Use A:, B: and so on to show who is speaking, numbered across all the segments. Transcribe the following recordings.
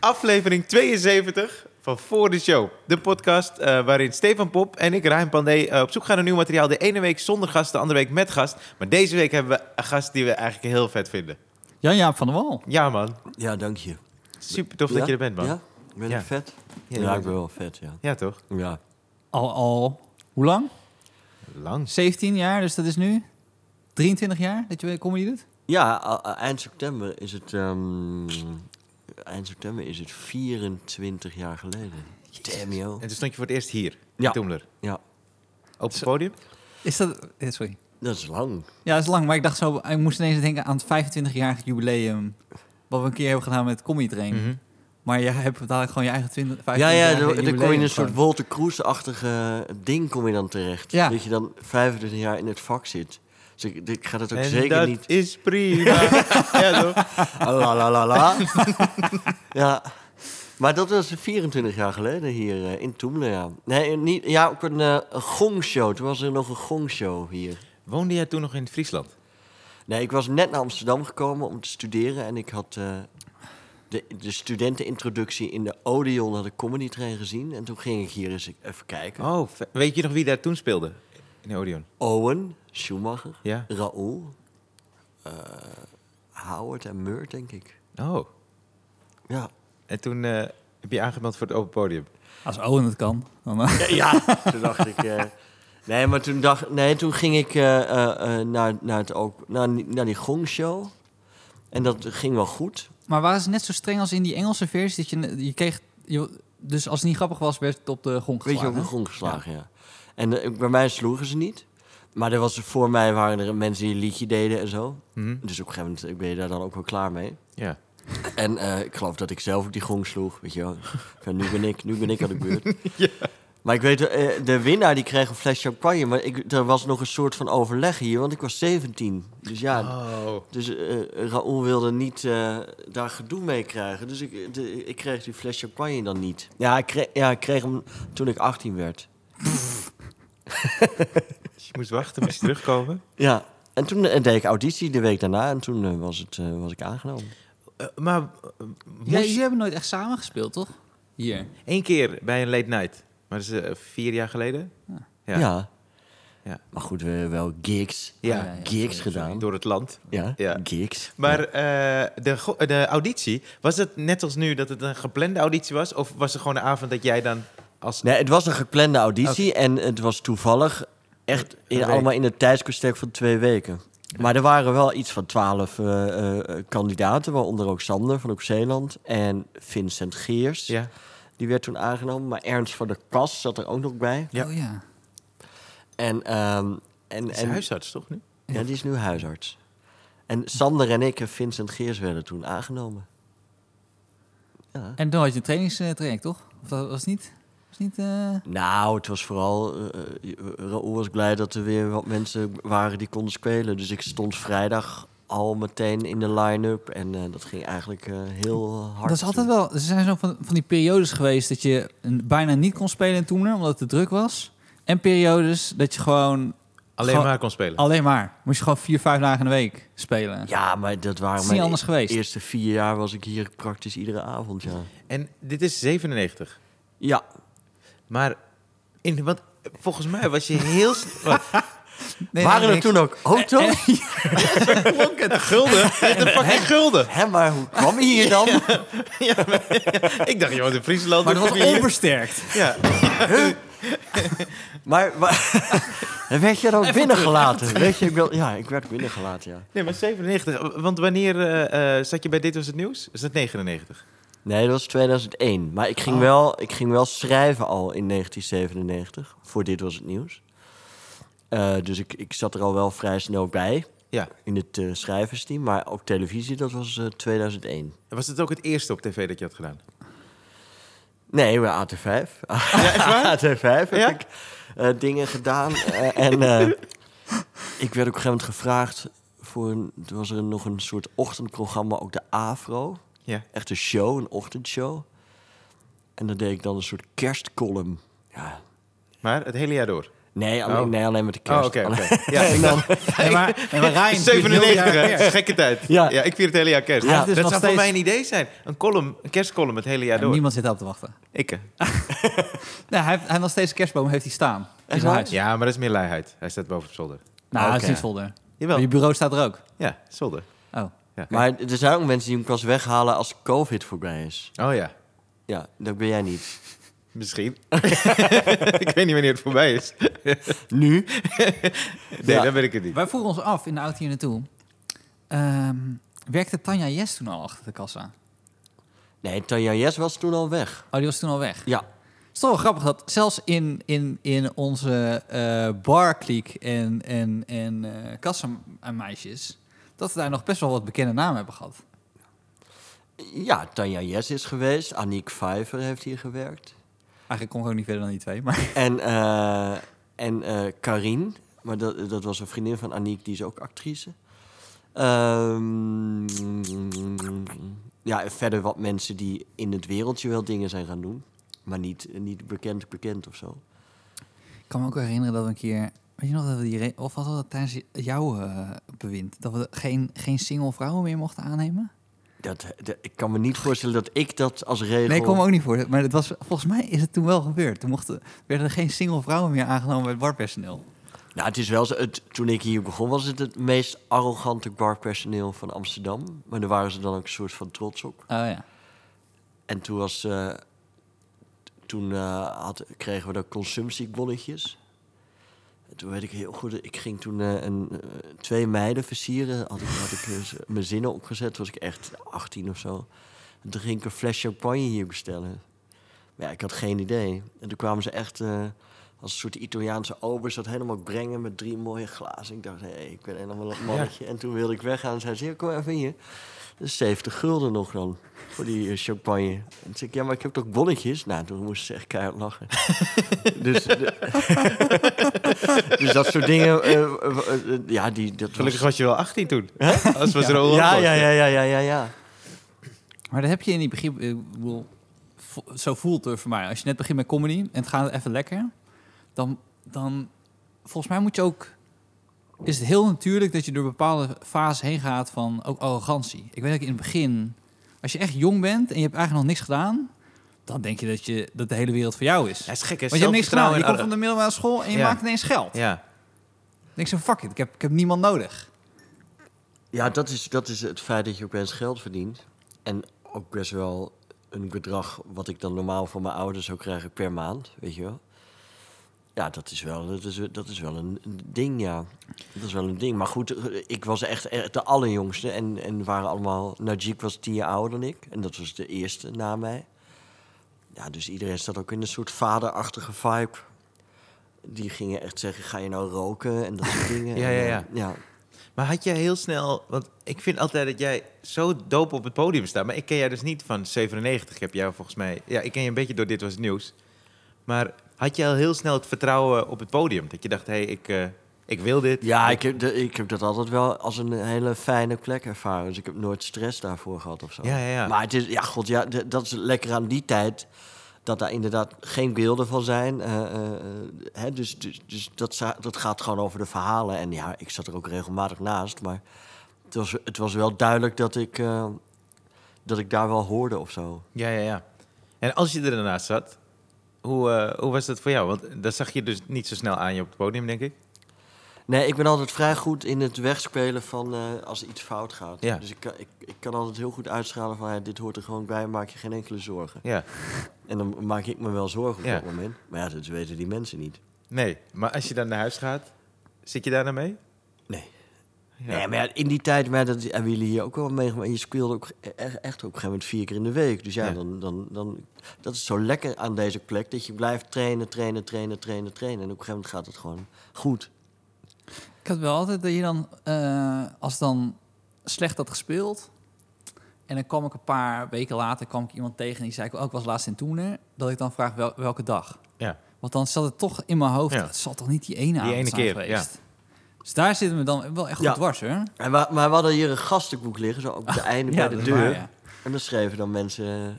A: aflevering 72 van Voor de Show. De podcast eh, waarin Stefan Pop en ik, Ryan Pandey, eh, op zoek gaan naar nieuw materiaal. De ene week zonder gast, de andere week met gast. Maar deze week hebben we een gast die we eigenlijk heel vet vinden.
B: Jan-Jaap van der Wal.
A: Ja, man.
C: Ja, dank je.
A: Super tof
C: ja?
A: dat je er bent, man.
C: Ja? Ben
A: Ja.
C: ik vet?
A: Ja,
C: Ja,
A: je bent-
C: ik ben wel vet, ja.
A: Ja, toch?
C: Ja,
B: Al, al, hoe lang?
A: Lang.
B: 17 jaar, dus dat is nu 23 jaar dat je comedy doet?
C: ja a- a- eind september is het... ehm, eind september is het 24 jaar geleden. Damn, yo.
A: En toen stond je voor het eerst hier, in
C: Ja.
A: Toemler.
C: Ja,
A: Op het podium.
B: Is dat... eh, Sorry.
C: dat is lang.
B: Ja, dat is lang, maar ik dacht zo... Ik moest ineens denken aan het 25-jarig jubileum... wat we een keer hebben gedaan met Comedy Train.
A: Mhm.
B: Maar jij hebt dadelijk gewoon je eigen 20, 25
C: Ja, ja,
B: jarige
C: dan dan kom je in
B: jubileum
C: een soort
B: gewoon.
C: Walter Kroes-achtige ding kom je dan terecht.
B: Ja.
C: Dat je dan 25 jaar in het vak zit. Dus ik, ik ga dat ook
A: en
C: zeker
A: dat
C: niet...
A: is prima. ja, toch?
C: Ah, La la la la. ja. Maar dat was 24 jaar geleden hier eh, in Toemelen, ja. Nee, niet, ja, ook een eh, een gongshow. Toen was er nog een gongshow hier.
A: Woonde jij toen nog in Friesland?
C: Nee, ik was net naar Amsterdam gekomen om te studeren. En ik had eh, de, de studentenintroductie in de Odeon naar de Comedy Train gezien. En toen ging ik hier eens even kijken.
A: Oh, vet. weet je nog wie daar toen speelde? In de Odeon.
C: Owen, Schumacher,
A: Ja.
C: Raoul, eh, Howard en Meur, denk ik.
A: Oh.
C: Ja.
A: En toen eh, heb je aangemeld voor het open podium.
B: Als Owen het kan, dan... eh,
C: Ja, toen dacht ik. eh, nee, maar toen, dacht, nee, toen ging ik eh, eh, eh, naar, naar, het ook, naar, naar die gongshow. En dat ging wel goed.
B: Maar waren ze net zo streng als in die Engelse versie? Dat je, je kreeg... je- dus als het niet grappig was, werd het op de grond
C: Weet je,
B: geslagen.
C: op de grond geslagen, ja. En eh, bij mij sloegen ze niet. Maar er was, voor mij waren er mensen die een liedje deden en zo.
A: Mhm.
C: Dus op een gegeven moment ben je daar dan ook wel klaar mee.
A: Ja.
C: En eh, ik geloof dat ik zelf ook die gong sloeg, weet je wel. Van, nu, ben ik, nu ben ik aan de beurt. Maar ik weet, eh, de winnaar die kreeg een fles champagne. Maar ik, er was nog een soort van overleg hier, want ik was 17. Dus ja,
A: Oh.
C: dus eh Raoul wilde niet eh, daar gedoe mee krijgen. Dus ik, de- ik kreeg die fles champagne dan niet. Ja, ik kreeg, ja, ik kreeg hem toen ik 18 werd.
A: Dus je moest wachten, moest je terugkomen.
C: Ja, en toen eh, deed ik auditie de week daarna. En toen eh, was, het, eh, was ik aangenomen.
A: Eh, maar eh,
B: Ja,
A: moest
B: jullie hebben nooit echt samen gespeeld, toch? Hier.
A: één keer bij een late night. Maar dat is eh, vier jaar geleden. Ja.
C: Ja.
A: Ja.
C: Maar goed, we hebben wel gigs.
A: Ja.
B: Ah, ja.
C: gigs gedaan.
A: Door het land.
C: Ja,
A: Ja.
C: gigs.
A: Maar eh, de, go- de auditie, was het net als nu dat het een geplande auditie was? Of was het gewoon een avond dat jij dan als...
C: Nee, het was een geplande auditie en het was toevallig echt in,
A: week.
C: allemaal in het tijdsbestek van twee weken. Maar er waren wel iets van twaalf eh, kandidaten, waaronder ook Sander van Op Zeeland en Vincent Geers.
A: Ja.
C: Die werd toen aangenomen, maar Ernst van der Kas zat er ook nog bij.
A: Ja.
B: Oh ja.
C: En, ehm, en,
A: Is hij
C: en
A: huisarts toch nu?
C: Ja, die is nu huisarts. En Sander en ik en Vincent Geers werden toen aangenomen. Ja.
B: En toen had je een trainingstraject, toch? Of dat was niet? Was niet eh,
C: Nou, het was vooral. eh, eh, Raoul was blij dat er weer wat mensen waren die konden spelen. Dus ik stond vrijdag al meteen in de line-up. En eh, dat ging eigenlijk eh, heel hard.
B: Dat is altijd wel. Er zijn zo van, van die periodes geweest dat je een- bijna niet kon spelen in Toemler omdat het te druk was. En periodes dat je gewoon
A: Alleen
B: Gewoon-
A: maar kon spelen.
C: Oh.
B: alleen maar moest je gewoon vier, vijf dagen in de week spelen.
C: Ja, maar dat
B: Het is
C: waren
B: niet
C: mijn e-
B: anders geweest.
C: eerste vier jaar was ik hier praktisch iedere avond. Ja.
A: En dit is 97.
C: ja.
A: Maar, in, want volgens mij was je heel... s- Wat?
B: Nee,
C: waren
B: nee,
C: er
B: niks.
C: toen ook auto's?
B: eh.
A: Gulden? Echt een fucking gulden?
C: Hè, maar hoe kwam je hier dan?
A: Ik dacht, joh, in Friesland...
B: Maar dat was
A: Ja.
B: onversterkt.
A: Ja.
C: Maar, maar werd je dan binnengelaten? Weet je, ik wil, ja, ik werd binnengelaten, ja.
A: Nee, maar 97. Want wanneer eh, eh, zat je bij Dit Was Het Nieuws? Is dat 99?
C: Nee, dat was 2001. Maar ik ging, wel, ik ging wel schrijven al in 1997. Voor Dit Was Het Nieuws. Eh, dus ik, ik zat er al wel vrij snel bij.
A: Ja.
C: In het eh, schrijversteam. Maar ook televisie, dat was eh, 2001.
A: En Was het ook het eerste op tv dat je had gedaan?
C: Nee, we AT5. AT5 heb
A: Ja?
C: ik eh, dingen gedaan. Eh, en eh, ik werd op een gegeven moment gevraagd... Voor een, toen was er nog een soort ochtendprogramma, ook de AFRO.
A: Ja.
C: echt een show, een ochtendshow. En dan deed ik dan een soort kerstcolumn. Ja,
A: Maar het hele jaar door?
C: Nee, alleen,
A: Oh.
C: nee, alleen met de kerst.
A: Oh, oké,
C: Alleen-
A: oké. Ja, ik dacht-
B: Nee, maar, nee, maar Rijn...
A: 97,
B: Ja,
A: hè?
B: ja.
A: Gekke tijd. Ja.
C: Ja.
A: ik vier het hele jaar kerst.
B: Ja, het is
A: dat zou
B: nog
A: voor
B: steeds-
A: mij een idee zijn. Een column, een kerstcolumn het hele jaar door.
B: Niemand zit daarop te wachten.
A: Ik. eh.
B: Nee, hij, heeft- hij heeft nog steeds een kerstboom heeft hij staan. In
C: waar?
B: zijn huis.
A: Ja, maar dat is meer luiheid. Hij staat boven op zolder.
B: Nou, hij is
C: Oké.
B: niet zolder.
A: Jawel.
B: Je bureau staat er ook.
A: Ja, zolder.
B: Oh.
C: Maar er zijn ook mensen die hem pas weghalen als COVID voorbij is.
A: Oh ja,
C: Ja, dat ben jij niet.
A: misschien. ik weet niet wanneer het voorbij is.
C: Nu?
A: Nee,
C: Ja.
A: dat weet ik het niet.
B: Wij vroegen ons af in de auto hier naartoe. ehm, werkte Tanja Yes toen al achter de kassa?
C: Nee, Tanja Jes was toen al weg.
B: Oh, die was toen al weg.
C: Ja.
B: Het is toch wel grappig dat zelfs in, in, in onze eh barkliek en, en, en eh kassameisjes... dat we daar nog best wel wat bekende namen hebben gehad.
C: Ja, Tanja Jes is geweest. Aniek Vijver heeft hier gewerkt.
B: Eigenlijk kon ik ook niet verder dan die twee, maar...
C: En, eh en eh Karin. Maar dat, dat was een vriendin van Aniek, die is ook actrice. Ehm, ja, en verder wat mensen die in het wereldje wel dingen zijn gaan doen. Maar niet, niet bekend, bekend of zo.
B: Ik kan me ook herinneren dat we een keer... Weet je nog dat we die... re- Of was dat tijdens jouw eh, bewind? Dat we geen, geen single vrouwen meer mochten aannemen?
C: Dat, dat- ik kan me niet voorstellen dat ik dat als regel...
B: Nee, ik kom ook niet voor. Maar het was, volgens mij is het toen wel gebeurd. Toen mochten, werden er geen single vrouwen meer aangenomen bij het barpersoneel.
C: Nou, het is wel zo. Het, toen ik hier begon, was het het meest arrogante barpersoneel van Amsterdam. Maar daar waren ze dan ook een soort van trots op.
B: Oh ja.
C: En toen was. eh, t- toen eh, had, kregen we de consumptiebonnetjes. En toen weet ik heel goed. Ik ging toen eh, een, eh, twee meiden versieren. Had ik, had ik dus mijn zinnen opgezet. Toen was ik echt 18 of zo. En toen ging ik een fles champagne hier bestellen. Maar ja, ik had geen idee. En toen kwamen ze echt. eh, als een soort Italiaanse obers dat helemaal brengen met drie mooie glazen. Ik dacht, hé, ik ben helemaal een mannetje. En toen wilde ik weggaan. En zei ze, "Ja, kom even hier. Dat is 70 gulden nog dan, voor die eh, champagne. En toen zei ik, ja, maar ik heb toch bonnetjes? Nou, toen moest ze echt keihard lachen. dus, de- dus dat soort dingen, eh, eh, eh, ja, die... Dat was-
A: Gelukkig was je wel 18 toen. Als we ze al
C: ja, ja, ja, ja, ja, ja, ja.
B: Maar dat heb je in die begin... eh, Ik bedoel, vo- zo voelt het voor mij. Als je net begint met comedy en het gaat even lekker... Dan, dan... Volgens mij moet je ook... Is het heel natuurlijk dat je door bepaalde fases heen gaat van ook arrogantie. Ik weet dat ik in het begin... Als je echt jong bent en je hebt eigenlijk nog niks gedaan... Dan denk je dat, je, dat de hele wereld voor jou is.
A: Dat is gek, hè?
B: Want je hebt niks gedaan.
A: Zelfvertrouwen
B: Je
A: en
B: komt
A: arro-
B: van de middelbare school en je
A: Ja.
B: maakt ineens geld.
A: Ja,
B: Ik zo, fuck it, ik heb, ik heb niemand nodig.
C: Ja, dat is, dat is het feit dat je ook best geld verdient. En ook best wel een bedrag wat ik dan normaal van mijn ouders zou krijgen per maand, weet je wel. Ja, dat is wel, dat is, dat is wel een, een ding, ja. Dat is wel een ding. Maar goed, eh, ik was echt, echt de allerjongste. En, en waren allemaal... Najib was tien jaar ouder dan ik. En dat was de eerste na mij. Ja, dus iedereen staat ook in een soort vaderachtige vibe. Die gingen echt zeggen, ga je nou roken? En dat soort dingen.
A: Ja, ja,
C: En, eh,
A: ja.
C: ja.
A: maar had jij heel snel... Want ik vind altijd dat jij zo dope op het podium staat. Maar ik ken jij dus niet van 97. Ik heb jou volgens mij... Ja, ik ken je een beetje door Dit Was Het Nieuws. Maar had jij al heel snel het vertrouwen op het podium? Dat je dacht, hé, hey, ik, eh, ik wil dit.
C: Ja, ik heb, de- ik heb dat altijd wel als een hele fijne plek ervaren. Dus ik heb nooit stress daarvoor gehad of zo.
A: Ja, ja, ja.
C: Maar het is, ja, god, ja, d- dat is lekker aan die tijd. Dat daar inderdaad geen beelden van zijn. Eh, eh, eh, hè, dus dus, dus dat, za- dat gaat gewoon over de verhalen. En ja, ik zat er ook regelmatig naast. Maar het was, het was wel duidelijk dat ik, eh, dat ik daar wel hoorde of zo.
A: Ja, ja, ja. En als je er daarnaast zat, hoe, eh, hoe was dat voor jou? Want dat zag je dus niet zo snel aan je op het podium, denk ik.
C: Nee, ik ben altijd vrij goed in het wegspelen van eh, als iets fout gaat.
A: Ja.
C: Dus ik kan, ik, ik kan altijd heel goed uitstralen van ja, dit hoort er gewoon bij, maak je geen enkele zorgen.
A: Ja.
C: En dan maak ik me wel zorgen op
A: Ja.
C: dat moment. Maar ja, dat weten die mensen niet.
A: Nee, maar als je dan naar huis gaat, zit je daar dan mee?
C: Nee.
A: Ja.
C: Nee, maar ja, in die tijd maar dat hebben jullie hier ook wel meegemaakt. Je speelde ook e- echt op een gegeven moment vier keer in de week. Dus ja,
A: Ja.
C: Dan, dan, dan, dat is zo lekker aan deze plek. Dat je blijft trainen, trainen, trainen, trainen, trainen. En op een gegeven moment gaat het gewoon goed.
B: Ik had wel altijd dat je dan, eh, als dan slecht had gespeeld... en dan kwam ik een paar weken later kwam ik iemand tegen... en die zei, ik, oh, ik was laatst in Toener... dat ik dan vraag wel, welke dag.
A: Ja.
B: Want dan zat het toch in mijn hoofd...
A: Ja.
B: het zal toch niet die ene avond
A: ene
B: zijn
A: keer,
B: geweest. Dus daar zitten we dan wel echt goed
C: Ja.
B: dwars, hoor.
C: En we, maar we hadden hier een gastenboek liggen, zo op het einde bij
B: dat
C: de
B: is
C: deur.
B: waar, ja.
C: En dan schreven dan mensen...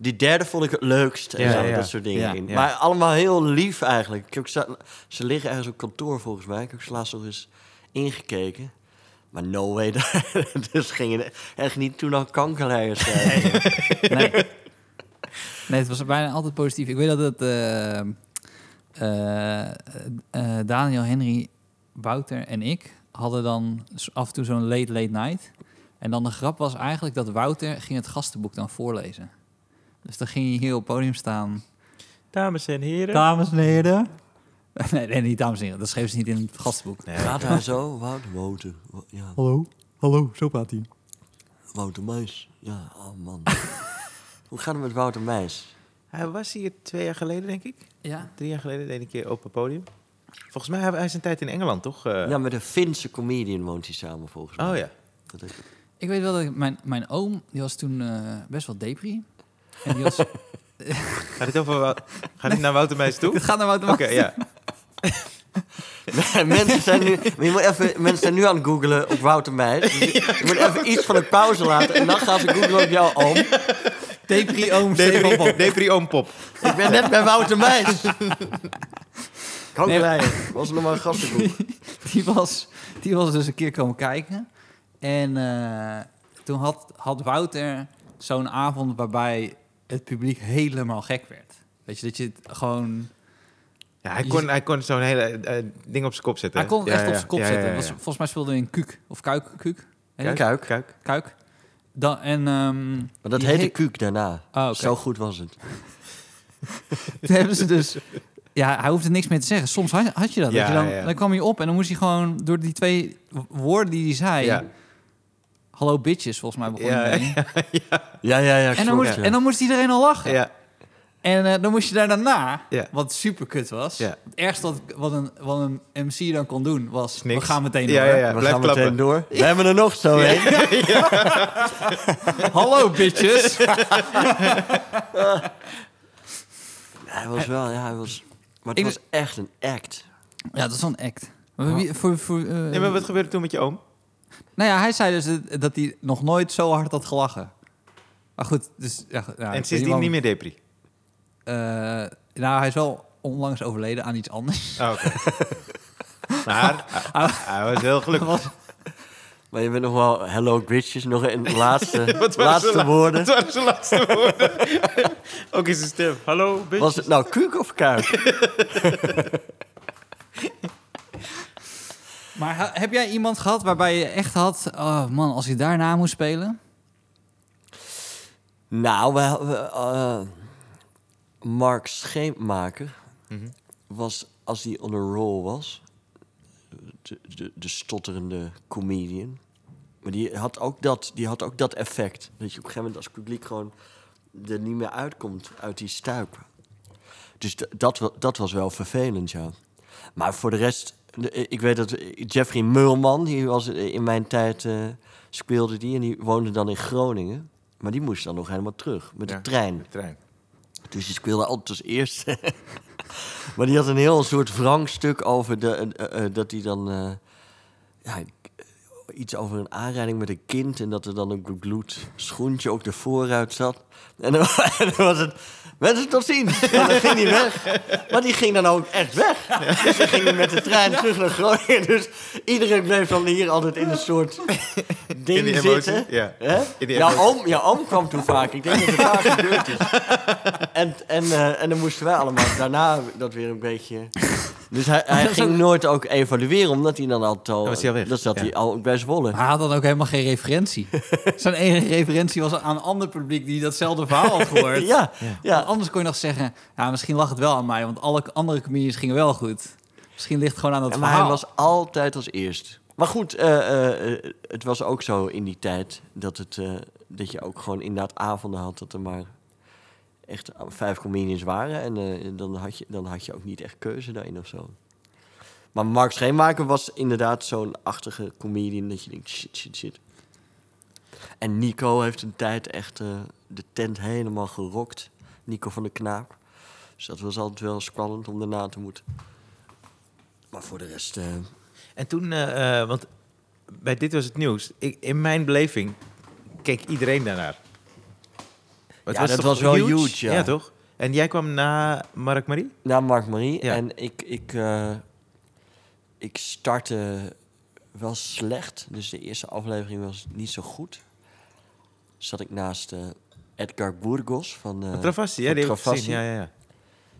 C: Die derde vond ik het leukst. En
A: Ja,
C: zo,
A: ja.
C: dat soort dingen.
B: Ja,
C: in.
A: ja.
C: Maar allemaal heel lief eigenlijk. Ik heb ook sta- ze liggen ergens op kantoor volgens mij. Ik heb ze laatst nog eens ingekeken. Maar no way. dus ging het echt niet toen al kankerlijers zijn.
B: Nee. nee, het was bijna altijd positief. Ik weet dat het eh, eh, eh, Daniel, Henry, Wouter en ik hadden dan s- af en toe zo'n late, late night. En dan de grap was eigenlijk dat Wouter ging het gastenboek dan voorlezen. Dus dan ging je hier op het podium staan.
D: Dames en heren.
B: Dames en heren. Nee, nee, niet dames en heren. Dat schreef ze niet in het gastenboek.
A: Nee.
C: Gaat hij zo? Wouter, Wouter. Wa- Ja,
B: Hallo, hallo, zo praat hij.
C: Wouter Meis. Ja, oh man. Hoe gaat het met Wouter Meis?
A: Hij was hier twee jaar geleden, denk ik.
B: Ja,
A: Drie jaar geleden deed ik een keer open podium. Volgens mij hebben hij zijn tijd in Engeland, toch? Eh,
C: Ja, met een Finse comedian woont hij samen volgens mij.
A: Oh ja.
C: Dat is-
B: Ik weet wel dat ik- mijn, mijn oom, die was toen eh, best wel depri. En die was...
A: Gaat dit, over, Wou- gaat dit naar Wouter Meijs toe?
B: Dit gaat naar Wouter
A: Oké,
B: Maas.
A: ja.
C: mensen, zijn nu, maar je moet even, mensen zijn nu aan het googelen op Wouter Meijs. Dus je- je moet even iets van de pauze laten en dan gaan ze googelen op jouw oom.
B: Depri, oom, Stefan
A: Depri-
B: Pop.
A: Depri Oom Pop.
C: Ik ben net bij Wouter Meijs. Kankerlijers. Was er nog maar een gastenboek.
B: Die was, die was dus een keer komen kijken. En eh, toen had, had Wouter zo'n avond waarbij het publiek helemaal gek werd. Weet je, dat je het gewoon...
A: Ja, hij kon, hij kon zo'n hele eh, ding op zijn kop zetten.
B: Hij kon het
A: Ja,
B: echt op
A: ja.
B: zijn kop
A: Ja, ja,
B: zetten.
A: ja,
B: Was-
A: ja.
B: volgens mij speelde hij in Kuuk. Of Kuik, Kuuk.
A: Kuik?
C: Kuik.
A: Kuik.
B: Kuik. Dan, en, ehm,
C: Maar dat
B: die
C: heette
B: he-
C: Kuuk daarna.
B: Ah, oké.
C: Zo goed was het.
B: Toen hebben ze dus... Ja, hij hoefde niks meer te zeggen. Soms had, had je dat.
A: Ja,
B: dat je dan,
A: ja.
B: dan kwam hij op en dan moest hij gewoon door die twee wo- woorden die hij zei...
A: Ja.
B: Hallo bitches, volgens mij begon
A: Ja,
B: hij mee.
C: Ja, ja, ja.
B: En,
C: ik
B: dan
C: snap
B: moest,
C: je.
B: en dan moest iedereen al lachen.
A: Ja,
B: En eh, dan moest je daar daarna,
A: Ja.
B: wat super kut was...
A: Ja.
B: Het ergste wat, wat, een, wat een MC dan kon doen was...
A: Niks.
B: We gaan meteen
A: Ja,
B: door.
A: ja, ja.
C: we
A: blijf
C: gaan
A: klappen.
C: meteen door. We hebben er nog zo een.
B: Hallo bitches.
C: Hij was wel, ja, hij was... Maar het
B: Ik-
C: was echt een act.
B: ja, dat is wel een act. Maar wie- voor, voor, eh,
A: Nee, maar wat gebeurde toen met je oom?
B: Nou ja, hij zei dus dat, dat hij nog nooit zo hard had gelachen. Maar goed, dus... Ja, ja, ik weet
A: en sindsdien
B: waarom-
A: niet meer Depri.
B: Eh, nou, hij is wel onlangs overleden aan iets anders.
A: Oh, oké. maar hij, hij was heel gelukkig.
C: Maar je bent nog wel hello bitches, nog een laatste,
A: Wat waren
C: laatste
A: ze la-
C: woorden.
A: Wat waren zijn laatste woorden? Ook in zijn stem.
D: Hallo, bitch.
C: Was het nou kuuk of kuik?
B: Maar ha- heb jij iemand gehad waarbij je echt had... Oh man, als ik daarna moest spelen...
C: nou, we, we, eh, Mark Scheepmaker was, als hij on a roll was, de, de, de stotterende comedian. Maar die had, ook dat, die had ook dat effect. Dat je op een gegeven moment als publiek gewoon er niet meer uitkomt uit die stuip. Dus d- dat, wa- dat was wel vervelend, ja. Maar voor de rest, de- eh, ik weet dat Jeffrey Mulman, die was in mijn tijd, eh, speelde die en die woonde dan in Groningen. Maar die moest dan nog helemaal terug met de
A: Ja.
C: trein.
A: De trein.
C: Dus die speelde altijd als eerste. maar die had een heel soort wrangstuk over de, eh, eh, dat hij dan. eh, ja, eh, iets over een aanrijding met een kind. En dat er dan een bebloed schoentje ook de vooruit zat. En dan, en dan was het. Mensen, tot ziens. En dan ging hij weg. Maar die ging dan ook echt weg. Dus dan ging hij met de trein terug naar Groningen. Dus iedereen bleef dan hier altijd in een soort ding
A: In die emotie,
C: zitten.
A: ja.
C: Hè?
A: In die
C: Jouw
A: emotie.
C: oom, jouw oom kwam toen vaak. Ik denk dat het vaak gebeurd is. En, en, eh, en dan moesten wij allemaal daarna dat weer een beetje... Dus hij, hij ging nooit ook evalueren, omdat hij dan altijd al...
A: Dan was hij al weg,
C: dat zat
A: ja.
C: hij al bij Zwolle.
B: Maar hij had dan ook helemaal geen referentie. Zijn enige referentie was aan een ander publiek die datzelfde verhaal had gehoord.
C: Ja,
B: Want
C: ja.
B: Anders kon je nog zeggen... Ja, misschien lag het wel aan mij, want alle andere comedians gingen wel goed. Misschien ligt het gewoon aan dat
C: Ja, maar
B: verhaal.
C: hij was altijd als eerst. Maar goed, eh, eh, eh, het was ook zo in die tijd dat, het, eh, dat je ook gewoon inderdaad avonden had dat er maar echt vijf comedians waren. En eh, dan, had je, dan had je ook niet echt keuze daarin of zo. Maar Mark Scheenmaker was inderdaad zo'n achtige comedian dat je denkt, shit, shit, shit. En Nico heeft een tijd echt eh, de tent helemaal gerokt. Nico van de Knaap. Dus dat was altijd wel spannend om daarna te moeten. Maar voor de rest... eh,
A: En toen, eh, eh, want bij dit was het nieuws. Ik, in mijn beleving keek iedereen daarnaar. Het
C: Ja, dat was wel huge, ja.
A: toch? En jij kwam na Mark Marie?
C: Na Mark Marie.
A: Ja.
C: En ik, ik, eh, ik startte wel slecht. Dus de eerste aflevering was niet zo goed. Zat ik naast eh, Edgar Burgos van... eh,
A: Travassi, ja,
C: van
A: die heb ik
C: Travassi.
A: gezien. Ja, ja, ja.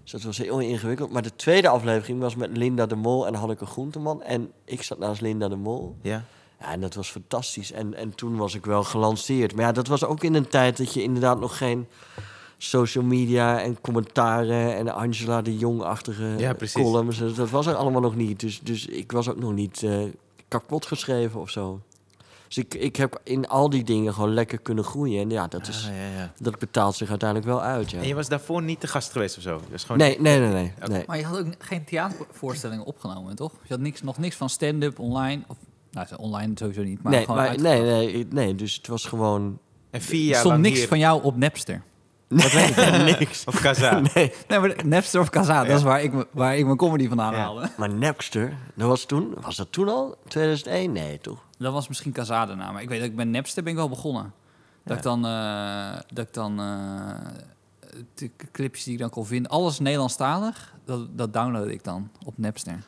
C: dus dat was heel ingewikkeld. Maar de tweede aflevering was met Linda de Mol en Hanneke Groenteman. En ik zat naast Linda de Mol.
A: ja.
C: Ja, en dat was fantastisch. En, en toen was ik wel gelanceerd. Maar ja, dat was ook in een tijd dat je inderdaad nog geen social media en commentaren en Angela de Jong-achtige
A: Ja, precies.
C: columns. Dat dat was er allemaal nog niet. Dus, dus ik was ook nog niet eh, kapot geschreven of zo. Dus ik, ik heb in al die dingen gewoon lekker kunnen groeien. En ja, dat, is,
A: Ah, ja, ja.
C: dat betaalt zich uiteindelijk wel uit. Ja.
A: En je was daarvoor niet te gast geweest of zo? Dat is gewoon...
C: Nee, nee, nee, nee. nee.
B: Maar je had ook geen theatervoorstellingen opgenomen, toch? Je had niks, nog niks van stand-up online. Of, nou, ze- online sowieso niet. Maar
C: Nee,
B: gewoon
C: maar,
B: uit-
C: nee, nee, nee, dus het was gewoon
A: En vier
B: Er
A: jaar
B: stond
A: lang
B: niks
A: hier-
B: van jou op Napster.
C: niks.
A: Of Kaza.
C: Nee.
B: Nee, maar Napster of Kazaa, dat is waar ik, me- waar ik mijn comedy vandaan
A: Ja.
B: haalde.
C: Maar Napster, dat was toen, was dat toen al? 2001? Nee, toch?
B: Dat was misschien Kazaa daarna, maar ik weet dat ik bij Napster ben ik wel begonnen. Dat ik dan, eh, dat ik dan eh, de k- clipjes die ik dan kon vinden, alles Nederlandstalig, dat, dat downloadde ik dan op Napster.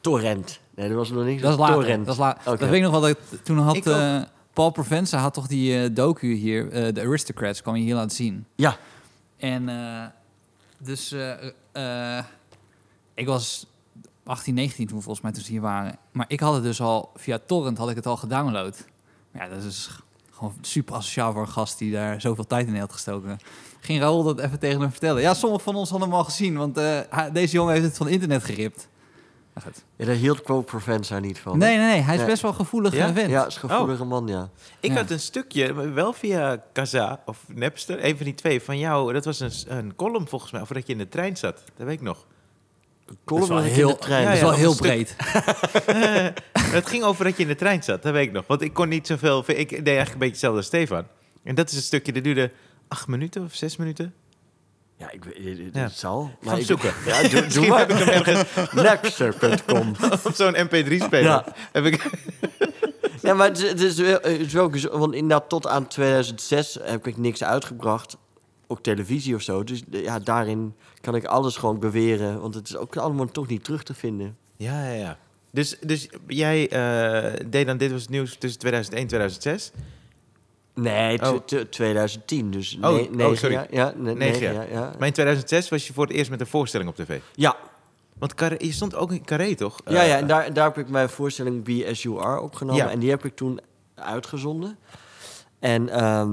C: Torrent. Nee, dat was nog niks.
B: Dat is later.
C: Torrent.
B: Dat, is la-
C: Oké.
B: dat weet ik nog wel. Dat ik, toen had
A: Ik ook.
B: eh, Paul Provenza had toch die eh, docu hier, eh de Aristocrats, kwam je hier laten zien.
C: Ja,
B: En eh, dus eh, eh, ik was 18, 19 toen volgens mij toen ze hier waren. Maar ik had het dus al via torrent had ik het al gedownload. Maar ja, dat is gewoon super asociaal voor een gast die daar zoveel tijd in had gestoken. Ging Raoul dat even tegen hem vertellen? Ja, sommigen van ons hadden hem al gezien, want eh, hij- deze jongen heeft het van internet geript. Nou, goed.
C: Ja, daar hield Quo Provenza niet van.
B: Nee, Oh. nee, nee, hij is
C: Nee.
B: best wel gevoelig
A: Ja?
B: vent.
C: Ja, is een gevoelige man, ja.
A: Ik
B: Ja.
A: had een stukje, maar wel via Kaza of Napster, een van die twee, van jou. Dat was een, s- een column volgens mij, of dat je in de trein zat. Dat weet ik nog.
C: Column
B: wel
C: dat ik in
B: heel-
C: de trein.
A: Ja,
B: dat is
A: ja.
B: wel
A: op
B: heel
A: een stuk.
B: breed.
A: Het ging over dat je in de trein zat, dat weet ik nog. Want ik kon niet zoveel. Ik deed eigenlijk een beetje hetzelfde als Stefan. En dat is een stukje, dat duurde acht minuten of zes minuten.
C: Ja, ik weet het,
A: Ja.
C: het zal.
A: Ga hem
C: ik-
A: zoeken.
C: Ja, doe- doe,
A: Misschien heb
C: maar.
A: ik hem ergens
C: Napster.com.
A: op zo'n MP3-speler.
C: Ja.
A: Heb ik,
C: Ja, maar het is, het is wel- het is wel gez- want inderdaad tot aan 2006 heb ik niks uitgebracht. Ook televisie of zo. Dus ja, daarin kan ik alles gewoon beweren. Want het is ook allemaal toch niet terug te vinden.
A: ja, ja, ja. Dus, dus jij eh, deed dan Dit Was Het Nieuws tussen 2001 en 2006.
C: Nee, t-
A: Oh.
C: t- 2010. Dus
A: Oh,
C: ne-
A: oh,
C: negen
A: sorry.
C: jaar. Ja, ne- negen,
A: jaar.
C: jaar. Ja,
A: Maar in 2006 was je voor het eerst met een voorstelling op tv.
C: ja,
A: Want Carré- je stond ook in Carré, toch?
C: ja, ja,
A: Eh,
C: en daar, daar heb ik mijn voorstelling Be As You Are opgenomen.
A: Ja.
C: En die heb ik toen uitgezonden. En ehm,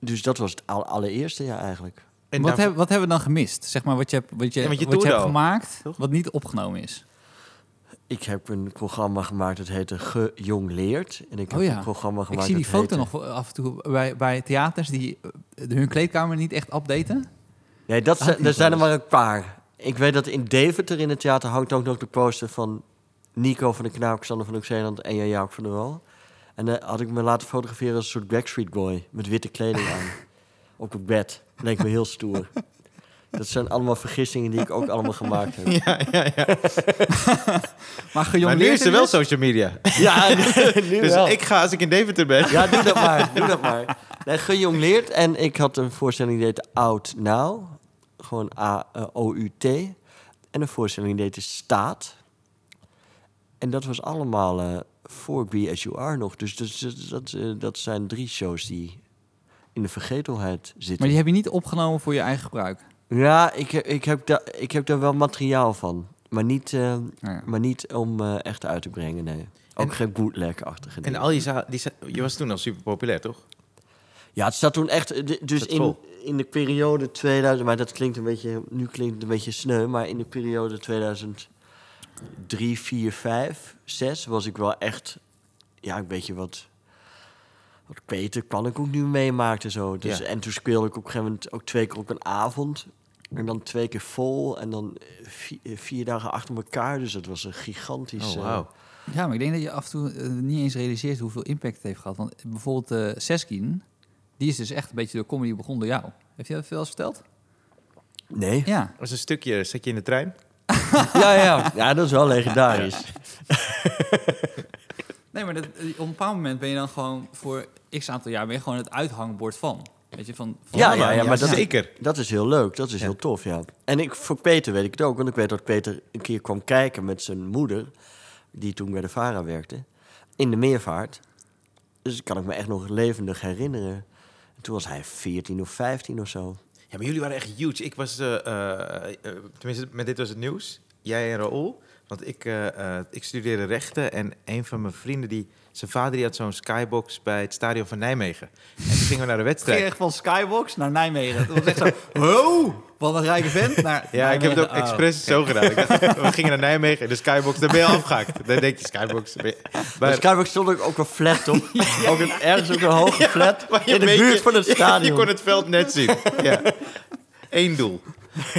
C: dus dat was het al- allereerste jaar eigenlijk.
A: en
B: wat,
A: daarvoor-
B: heb, wat hebben we dan gemist? Zeg maar wat je, hebt- wat je,
A: Ja, want je
B: wat je
A: toerde
B: hebt
A: al,
B: gemaakt,
A: toch?
B: wat niet opgenomen is.
C: Ik heb een programma gemaakt dat heette Ge Jong Leert. En ik heb
B: Oh ja.
C: een programma gemaakt
B: Ik zie die
C: dat
B: foto
C: heette-
B: nog af en toe bij, bij theaters die eh, hun kleedkamer niet echt updaten.
C: Nee, dat
B: Had
C: zijn,
B: die
C: er zijn er
B: wel
C: maar een paar. Ik weet dat in Deventer in het theater hangt ook nog de poster van Nico van de Knaap, Xander van Oxeland en Jan Jaap van der Wal. En dan had ik me laten fotograferen als een soort Backstreet Boy met witte kleding aan. Op het bed. Leek me heel stoer. Dat zijn allemaal vergissingen die ik ook allemaal gemaakt heb.
A: Ja, ja, ja.
B: Maar
A: Maar nu
B: gejongleerd
A: is er wel social media.
C: Ja, nu
A: Dus
C: wel.
A: ik ga als ik in Deventer ben.
C: Ja, doe dat maar. Doe dat maar. Nee, gejongleerd. En ik had een voorstelling die heette Out Now. Gewoon A-O-U-T. en een voorstelling die heette Staat. En dat was allemaal eh, voor BSUR nog. Dus dat, dat, dat, eh, dat zijn drie shows die in de vergetelheid
B: Maar
C: zitten.
B: die heb je niet opgenomen voor je eigen gebruik.
C: Ja, ik, heb- ik, heb da, ik heb daar wel materiaal van. Maar niet, eh,
B: Nou ja.
C: maar niet om eh, echt uit te brengen, nee. Ook
A: En-
C: geen bootleg-achtige
A: En
C: dingen.
A: al je, za- die za- je was toen al super populair, toch?
C: Ja, het staat toen echt. eh, d- Dus
A: Staat
C: in,
A: vol.
C: in de periode 2000. Maar dat klinkt een beetje. Nu klinkt het een beetje sneu. Maar in de periode 2003, 4, 5, 6 was ik wel echt. Ja, een beetje wat. Wat Peter Pannenkoek nu meemaakte zo. Dus,
A: Ja.
C: En toen speelde ik op een gegeven moment ook twee keer op een avond. En dan twee keer vol. En dan eh, vi- eh, vier, dagen achter elkaar. Dus dat was een gigantisch.
A: Oh,
C: eh,
A: wauw.
B: Ja, maar ik denk dat je af en toe eh, niet eens realiseert hoeveel impact het heeft gehad. Want bijvoorbeeld eh Seskin, die is dus echt een beetje door comedy begonnen door jou. Heeft je dat veel eens verteld?
C: nee.
B: Ja.
A: was een stukje, zat je in de trein?
C: Ja, ja. ja, dat is wel legendarisch.
B: Nee, maar dat, eh, op een bepaald moment ben je dan gewoon voor x aantal jaar ben je gewoon het uithangbord van. Weet je, van, van
C: Ja, ja, ja, maar dat-
A: Ah, zeker.
C: Dat is heel leuk, dat is
A: Ja.
C: heel tof, ja. En ik, voor Peter weet ik het ook, want ik weet dat Peter een keer kwam kijken met zijn moeder, die toen bij de VARA werkte, in de meervaart. Dus dat kan ik me echt nog levendig herinneren. En toen was hij 14 of 15 of zo.
A: Ja, maar jullie waren echt huge. Ik was, eh, eh, eh, tenminste, met dit was het nieuws. Jij en Raoul. Want ik, eh, eh, ik studeerde rechten en een van mijn vrienden, die, zijn vader, die had zo'n skybox bij het stadion van Nijmegen. En toen gingen we naar de
B: ging
A: wedstrijd.
B: echt van Skybox naar Nijmegen. Dat was echt zo, wow, wat een rijke vent. Naar
A: Ja, ik heb het ook
B: Nijmegen. Oh.
A: expres zo gedaan. Ik dacht, we gingen naar Nijmegen en de skybox, daar ben je al afgehaakt. Dan denk je, skybox. ben je-
C: Bij
A: Maar-
C: Skybox Dus stond ook, ook een flat op. ook een, ergens ook een hoge flat
A: Maar je
C: in de
A: weet-
C: buurt van het
A: Je
C: stadion.
A: kon het veld net zien. ja. Eén doel.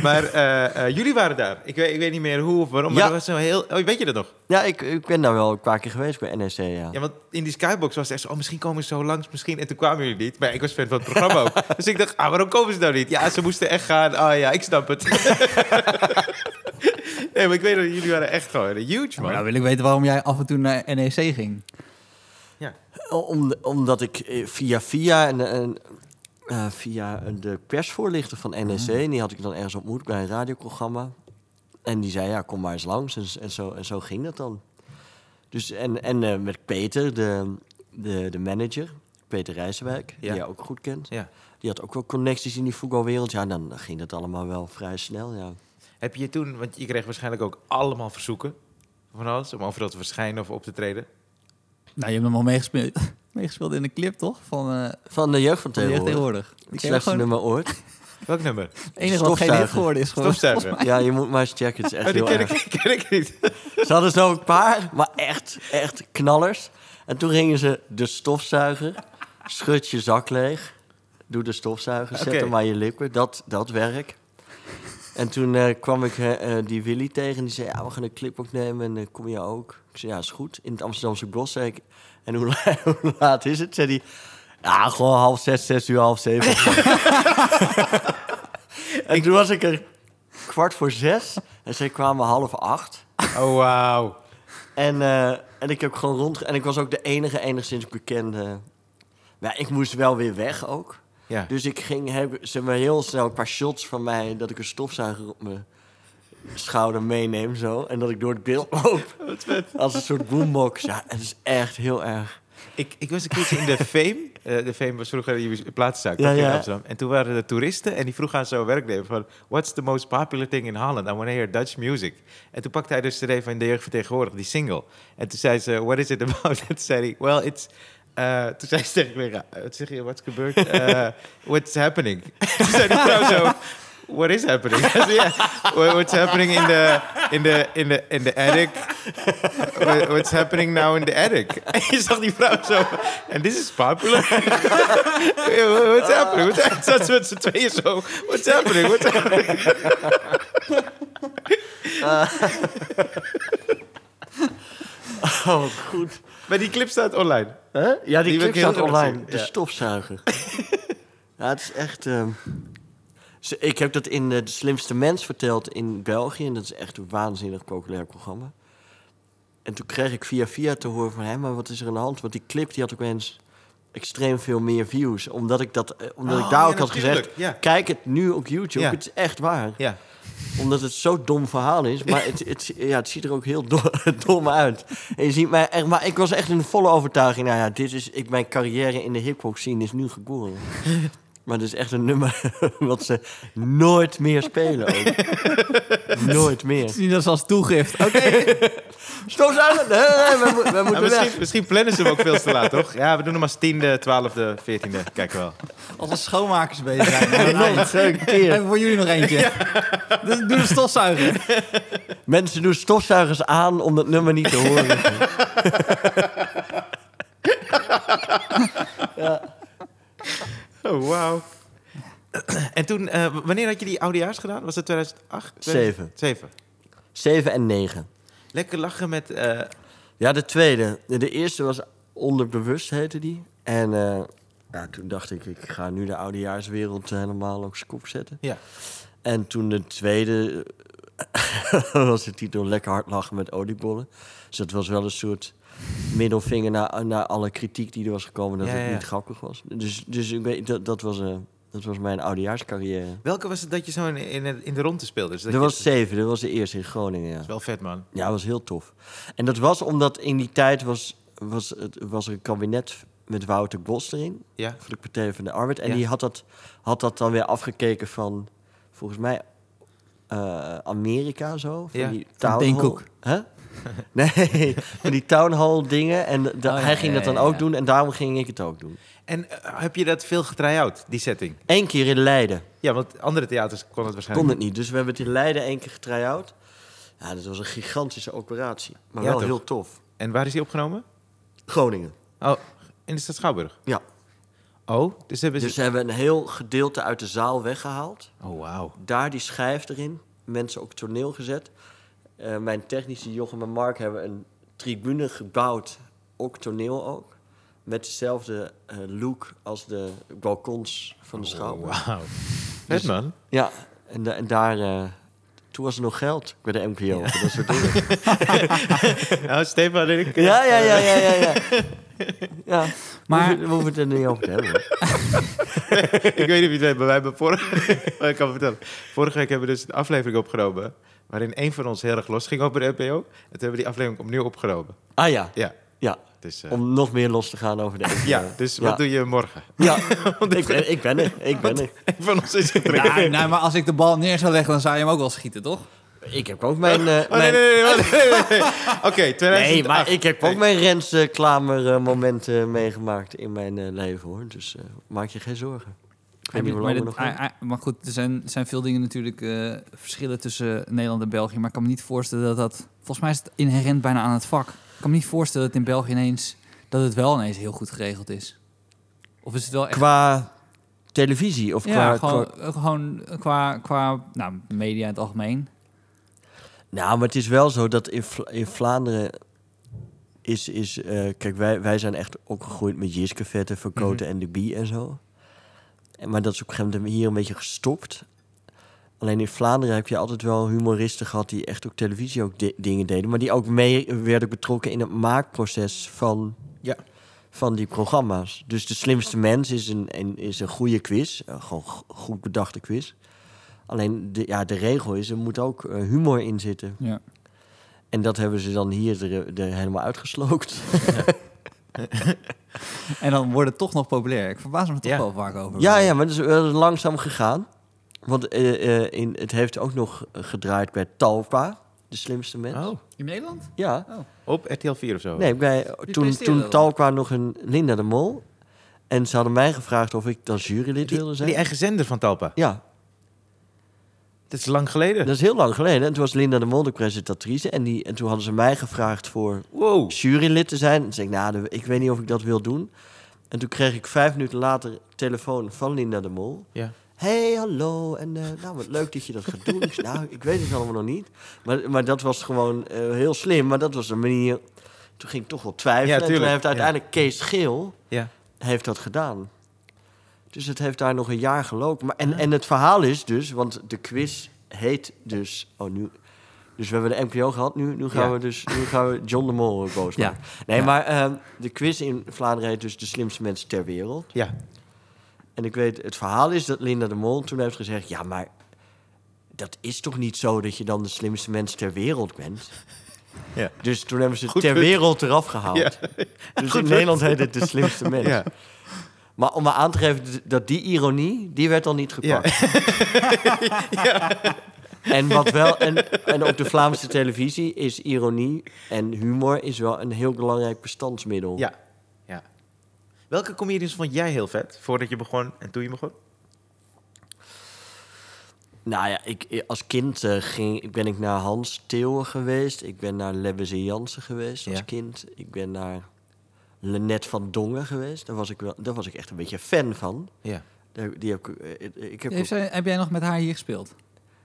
A: Maar eh, eh, jullie waren daar. Ik weet, ik weet niet meer hoe of waarom, maar
C: Ja.
A: dat was zo heel... Oh, weet je dat nog?
C: Ja, ik, ik ben daar wel een paar keer geweest bij NEC, ja.
A: Ja, want in die skybox was het echt zo... Oh, misschien komen ze zo langs, misschien... En toen kwamen jullie niet. Maar ik was fan van het programma ook. Dus ik dacht, ah, waarom komen ze nou niet? Ja, ze moesten echt gaan. Ah ja, ik snap het. nee, maar ik weet dat jullie waren echt gewoon huge,
B: Ja, maar
A: man.
B: nou wil ik weten waarom jij af en toe naar NEC ging.
C: Om, omdat ik eh, via via en, en, eh, via de persvoorlichter van
A: Mhm.
C: NEC, en die had ik dan ergens ontmoet bij een radioprogramma. En die zei, ja, kom maar eens langs. En, en, zo, en zo ging dat dan. Dus, en en eh, met Peter, de, de, de manager, Peter Rijswijk,
A: Ja.
C: die jij ook goed kent.
A: Ja.
C: Die had ook wel connecties in die voetbalwereld. Ja, dan ging dat allemaal wel vrij snel, ja.
A: Heb je toen... Want je kreeg waarschijnlijk ook allemaal verzoeken van alles... om overal te verschijnen of op te treden.
B: Nou, je hebt hem al meegespeeld, meegespeeld in de clip, toch? Van, eh
C: Van de jeugd van
B: van tegenwoordig.
C: tegenwoordig.
B: Ik
C: Het slechtste
B: gewoon,
C: nummer ooit.
A: Welk nummer?
B: het enige wat geen hit
C: Stofzuiger.
B: geworden is gewoon.
A: Stofzuiger.
C: Ja, je moet maar eens checken. Het is echt
A: Oh, die
C: heel
A: ken
C: erg.
A: ik, ken ik niet.
C: Ze hadden zo een paar, maar echt, echt knallers. En toen gingen ze de stofzuiger, schud je zak leeg, doe de stofzuiger, zet
A: Oké.
C: hem aan je lippen, dat, dat werk. En toen eh, kwam ik eh, eh, die Willy tegen en die zei, ja, we gaan een clip opnemen en eh, kom je ook? Ik zei, ja, is goed. In het Amsterdamse Bos zei ik, en hoe, la- hoe laat is het? Zei hij, ja, gewoon half zes, zes uur, half zeven. en toen was ik er kwart voor zes en zij kwamen half acht.
A: Oh, wauw.
C: En, eh, en ik heb gewoon rond... En ik was ook de enige enigszins bekende... Maar ik moest wel weer weg ook.
A: Ja.
C: Dus ik ging... Heb, ze hebben heel snel een paar shots van mij... dat ik een stofzuiger op mijn schouder meeneem zo. En dat ik door het beeld loop. Als een soort boombox. Ja, het is echt heel erg.
A: Ik, ik was een keertje in de Fame. Eh, de Fame was vroeger die plaatszaak
C: Ja,
A: in
C: ja.
A: Amsterdam. En toen waren er toeristen en die vroegen aan zo'n werknemer van... What's the most popular thing in Holland? I want to hear Dutch music. En toen pakte hij dus de CD van De Jeugd van Tegenwoordig, die single. En toen zei ze, what is it about? En toen zei hij, well, it's... eh, toen zei ze tegen me, wat zeg je, what's gebeurd? Eh, what's happening? toen zei hij trouwens zo... What is happening? I said, yeah. What- What's happening in the in the in the in the attic? What- What's happening now in the attic? En je zag die vrouw zo. And this is popular. What's happening? What's happening? Zat ze met z'n tweeën zo. What's happening? What's happening?
C: Oh, goed.
A: Maar die clip staat online.
C: Hè? Ja,
A: Die
C: die,
A: wil ik
C: clip
A: heel
C: staat
A: graag
C: online.
A: zien,
C: De
A: ja.
C: stofzuiger. ja, het is echt... ehm, ze- Ik heb dat in eh, De Slimste Mens verteld in België. En dat is echt een waanzinnig populair programma. En toen kreeg ik via via te horen van... Hé, maar wat is er aan de hand? Want die clip die had ook eens extreem veel meer views. Omdat ik, dat, eh, omdat
A: Oh,
C: ik daar
A: ja,
C: ook had
A: natuurlijk,
C: gezegd...
A: ja.
C: Kijk het nu op YouTube.
A: Ja.
C: Het is echt waar.
A: Ja.
C: Omdat het zo'n dom verhaal is. Maar het, het, ja, het ziet er ook heel do- dom uit. En je ziet mij echt, maar ik was echt in volle overtuiging. Nou ja, dit is, ik, mijn carrière in de hip-hop scene is nu geboren. Maar dit is echt een nummer wat ze nooit meer spelen. Ook. nooit meer.
B: Het is niet dat ze als toegift. Oké,
C: Stop aan! Nee, nee, we, mo- we
A: Maar
C: moeten weg.
A: misschien, misschien plannen ze hem ook veel te laat, toch? Ja, we doen hem als tiende, twaalfde, veertiende. Kijk wel.
B: als we schoonmakers bezig zijn.
C: Nog
B: dan-
C: een zeker keer.
B: Even voor jullie nog eentje. Dus doe de stofzuiger.
C: Mensen doen stofzuigers aan om dat nummer niet te horen.
A: Oh, wauw. En toen, eh, w- wanneer had je die oudejaars gedaan? Was dat 2008?
C: Zeven.
A: 7.
C: Zeven en negen.
A: Lekker lachen met... eh,
C: Ja, de tweede. De- De eerste was onderbewust, heette die. En eh, ja, toen dacht ik, ik ga nu de oudejaarswereld helemaal op zijn kop zetten.
A: ja.
C: En toen de tweede eh, was de titel Lekker hard lachen met oliebollen. Dus dat was wel een soort middelvinger naar, naar alle kritiek die er was gekomen dat
A: Ja,
C: het
A: ja.
C: niet grappig was. Dus, dus ik weet, dat, dat, was, eh, dat was mijn oudejaarscarrière.
A: Welke was het dat je zo in, in, in de ronde speelde? Dus dat
C: Dat
A: je-
C: was zeven, dat was de eerste in Groningen, ja.
A: Dat is wel vet, man.
C: Ja, dat was heel tof. En dat was omdat in die tijd was, was, het, was er een kabinet met Wouter Bos erin,
A: Ja.
C: voor de Partij van de Arbeid. En
A: Ja.
C: die had dat, had dat dan weer afgekeken van, volgens mij, eh, Amerika zo. Van
A: Ja.
C: die
B: Van
C: town
B: Deenkoek.
C: hall- Hè? Nee, van die town hall dingen. En da-
B: Oh ja,
C: hij ging
B: ja,
C: dat dan
B: ja,
C: ook
B: ja.
C: doen en daarom ging ik het ook doen.
A: En eh, heb je dat veel getry-out, die setting?
C: Eén keer in Leiden.
A: Ja, want andere theaters kon het
C: Kon
A: waarschijnlijk
C: het niet. Dus we hebben het in Leiden één keer getry-out. Ja, dat was een gigantische operatie. Maar
A: Ja,
C: wel
A: toch?
C: heel tof.
A: niet. En waar is die opgenomen?
C: Groningen.
A: Oh, in de stad Schouwburg.
C: Ja.
A: Oh, dus hebben ze...
C: Dus ze hebben een heel gedeelte uit de zaal weggehaald.
A: Oh, wauw.
C: Daar die schijf erin. Mensen op het toneel gezet. Eh, mijn technici Jochem en Mark hebben een tribune gebouwd. Ook toneel ook. Met dezelfde eh, look als de balkons van de
A: Oh,
C: schouwburg. Dus-
A: wauw. Vet, man.
C: Ja, en, da- en daar... eh, toen was er nog geld bij de MKO. voor Dat soort dingen.
A: Nou, Stefan en ik...
C: Ja, ja, ja, ja, ja. ja. ja.
B: Maar-
C: Maar we hoeven het er niet over te hebben. hoor.
A: ik weet niet of je het weet, maar wij hebben vorige... maar ik kan het vertellen. Vorige week hebben we dus een aflevering opgenomen... waarin een van ons heel erg los ging over de NPO. En toen hebben we die aflevering opnieuw opgenomen.
C: Ah ja,
A: Ja,
C: ja.
A: dus... eh,
C: Om nog meer los te gaan over de MKO.
A: Ja, dus
C: Ja.
A: wat doe je morgen?
C: Ja, ik ben, ik ben er. Ik ben er.
A: Een van ons is getraind.
B: Nou, nou, maar als ik de bal neer zou leggen, dan zou je hem ook wel schieten, toch?
C: Ik heb ook mijn... eh,
A: Oh, nee,
C: mijn-
A: nee, nee. wacht, nee, nee, nee. Oké,
C: Nee,
A: 2008.
C: maar ik heb ook mijn Rens eh, Klamer eh, momenten meegemaakt in mijn eh, leven, hoor. Dus eh, maak je geen zorgen. Ik weet niet hoe
B: maar,
C: lang we
B: dit-
C: nog
B: ah,
C: hebben.
B: ah, maar goed, er zijn, zijn veel dingen natuurlijk eh, verschillen tussen Nederland en België. Maar ik kan me niet voorstellen dat dat... Volgens mij is het inherent bijna aan het vak. Ik kan me niet voorstellen dat in België ineens... dat het wel ineens heel goed geregeld is. Of is het wel echt...
C: Qua televisie of
B: ja,
C: qua,
B: gewoon,
C: qua-
B: eh, gewoon qua, qua nou, media in het algemeen.
C: Nou, maar het is wel zo dat in, Vla- in Vlaanderen is... is eh, kijk, wij, wij zijn echt opgegroeid met Jiske Vette, Verkoten en De Bie en zo. En, maar dat is op een gegeven moment hier een beetje gestopt. Alleen in Vlaanderen heb je altijd wel humoristen gehad... die echt op televisie ook di- dingen deden... maar die ook mee werden betrokken in het maakproces van,
A: Ja.
C: van die programma's. Dus De Slimste Mens is een, een, is een goede quiz. eh, gewoon go- goed bedachte quiz. Alleen de, ja, de regel is, er moet ook eh, humor in zitten.
B: Ja.
C: En dat hebben ze dan hier er, er helemaal uitgesloopt.
A: Oh,
B: En dan wordt het toch nog populair. Ik verbaas me toch
A: Ja.
B: wel vaak over.
C: ja, ja, maar dat is wel langzaam gegaan. Want eh, eh, in, het heeft ook nog gedraaid bij Talpa, de slimste mens.
A: Oh,
B: In Nederland? Oh.
C: Ja,
A: op RTL 4 of zo?
C: nee, bij, toen,
B: presteerde
C: toen
B: dan?
C: Talpa nog een Linda de Mol. En ze hadden mij gevraagd of ik dan jurylid wilde
A: Die,
C: zijn.
A: die eigen zender van Talpa.
C: ja,
A: Dat is lang geleden.
C: dat is heel lang geleden. En toen was Linda de Mol de presentatrice. En, die, en toen hadden ze mij gevraagd voor
A: Wow.
C: jurylid te zijn. Toen zei ik, nou, ik weet niet of ik dat wil doen. En toen kreeg ik vijf minuten later telefoon van Linda de Mol.
A: Ja.
C: Hey, hallo. En eh, nou, wat leuk dat je dat gaat doen. Ik zei, nou, ik weet het allemaal nog niet. Maar, maar dat was gewoon eh, heel slim. Maar dat was een manier... Toen ging ik toch wel twijfelen.
A: Ja,
C: en toen
A: tuurlijk.
C: heeft
A: Ja.
C: uiteindelijk Kees Geel
A: ja.
C: heeft dat gedaan. Dus het heeft daar nog een jaar gelopen. Maar, en, en het verhaal is dus, want de quiz heet dus... Oh, nu, dus we hebben de NPO gehad, nu, nu, gaan,
A: Ja.
C: we dus, nu gaan we John de Mol ook boos
B: Ja.
C: maken. Nee,
B: Ja.
C: maar ehm, de quiz in Vlaanderen heet dus de slimste mensen ter wereld.
A: Ja.
C: En ik weet, het verhaal is dat Linda de Mol toen heeft gezegd... ja, maar dat is toch niet zo dat je dan de slimste mens ter wereld bent?
A: Ja.
C: Dus toen hebben ze
A: Goed
C: ter
A: punt.
C: wereld eraf gehaald.
A: Ja.
C: Dus in
A: punt.
C: Nederland heet het de slimste mens.
A: Ja.
C: Maar om maar aan te geven d- dat die ironie, die werd al niet gepakt. En, wat wel, en, en op de Vlaamse televisie is ironie en humor is wel een heel belangrijk bestandsmiddel.
A: ja. ja. Welke comedians vond jij heel vet voordat je begon en toen je begon?
C: Nou ja, ik, ik- als kind eh, ging, ik ben ik naar Hans Theeuwen geweest. Ik ben naar Lebbes en Jansen geweest als
A: Ja.
C: kind. Ik ben naar Lennet van Dongen geweest. Daar was ik, wel, daar was ik echt een beetje fan van.
A: Ja.
C: Daar- Die heb ik, eh, eh, ik heb
B: Heeft zij- heb jij nog met haar hier gespeeld?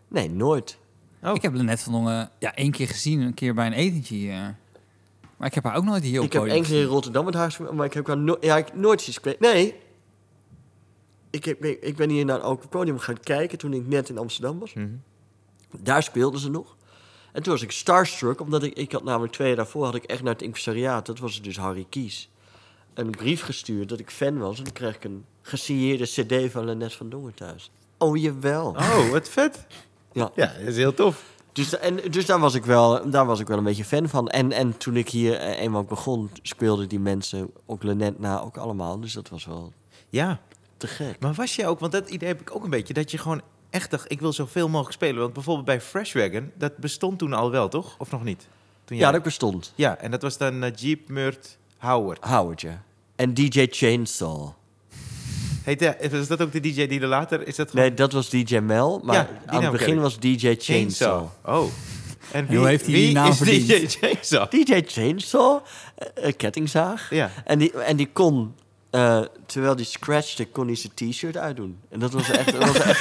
C: Nee, nooit.
A: Oh.
B: Ik heb Lennet van Dongen ja, één keer gezien, een keer bij een etentje hier. Maar ik heb haar ook nooit hier op
C: ik heb
B: podium
C: één keer in
B: gezien.
C: Rotterdam met haar gespeeld, maar ik heb haar no- ja, ik, nooit zien spelen. Nee,
A: Mhm.
C: ik, heb, ik, ik ben hier naar een open podium gaan kijken toen ik net in Amsterdam was. Daar speelden ze nog. En toen was ik starstruck, omdat ik, ik had namelijk twee jaar daarvoor had ik echt naar het impresariaat, dat was dus Harry Kies, een brief gestuurd dat ik fan was. En toen kreeg ik een gesigneerde cd van Lennet van Dongen thuis. Oh, jawel.
A: Oh, wat vet.
C: Ja.
A: Ja, dat is heel tof.
C: Dus, en, dus daar, was ik wel, daar was ik wel een beetje fan van. En, en toen ik hier eh, eenmaal begon, speelden die mensen ook Lennet na ook allemaal. Dus dat was wel
A: Ja,
C: te gek.
A: maar was je ook, want dat idee heb ik ook een beetje, dat je gewoon echt dacht, ik wil zoveel mogelijk spelen. Want bijvoorbeeld bij Fresh Wagon, dat bestond toen al wel, toch? Of nog niet? Toen jij-
C: Ja, dat bestond.
A: ja, en dat was dan eh, Jeep Murt Howard.
C: Howard, ja. En DJ Chainsaw.
A: Heet, hij- is dat ook de DJ die er later, is dat gewoon
C: Nee, dat was DJ Mel, maar
A: Ja, die
C: aan
A: naam
C: het begin
A: ken ik.
C: was DJ Chainsaw.
A: Oh. En
B: hoe heeft hij die
A: wie
B: naam
A: is
B: verdiend?
A: DJ Chainsaw?
C: DJ Chainsaw, eh, eh, kettingzaag.
A: Ja.
C: En die, en die kon, eh, terwijl die scratchte, kon hij zijn t-shirt uitdoen. En dat was echt... Dat was echt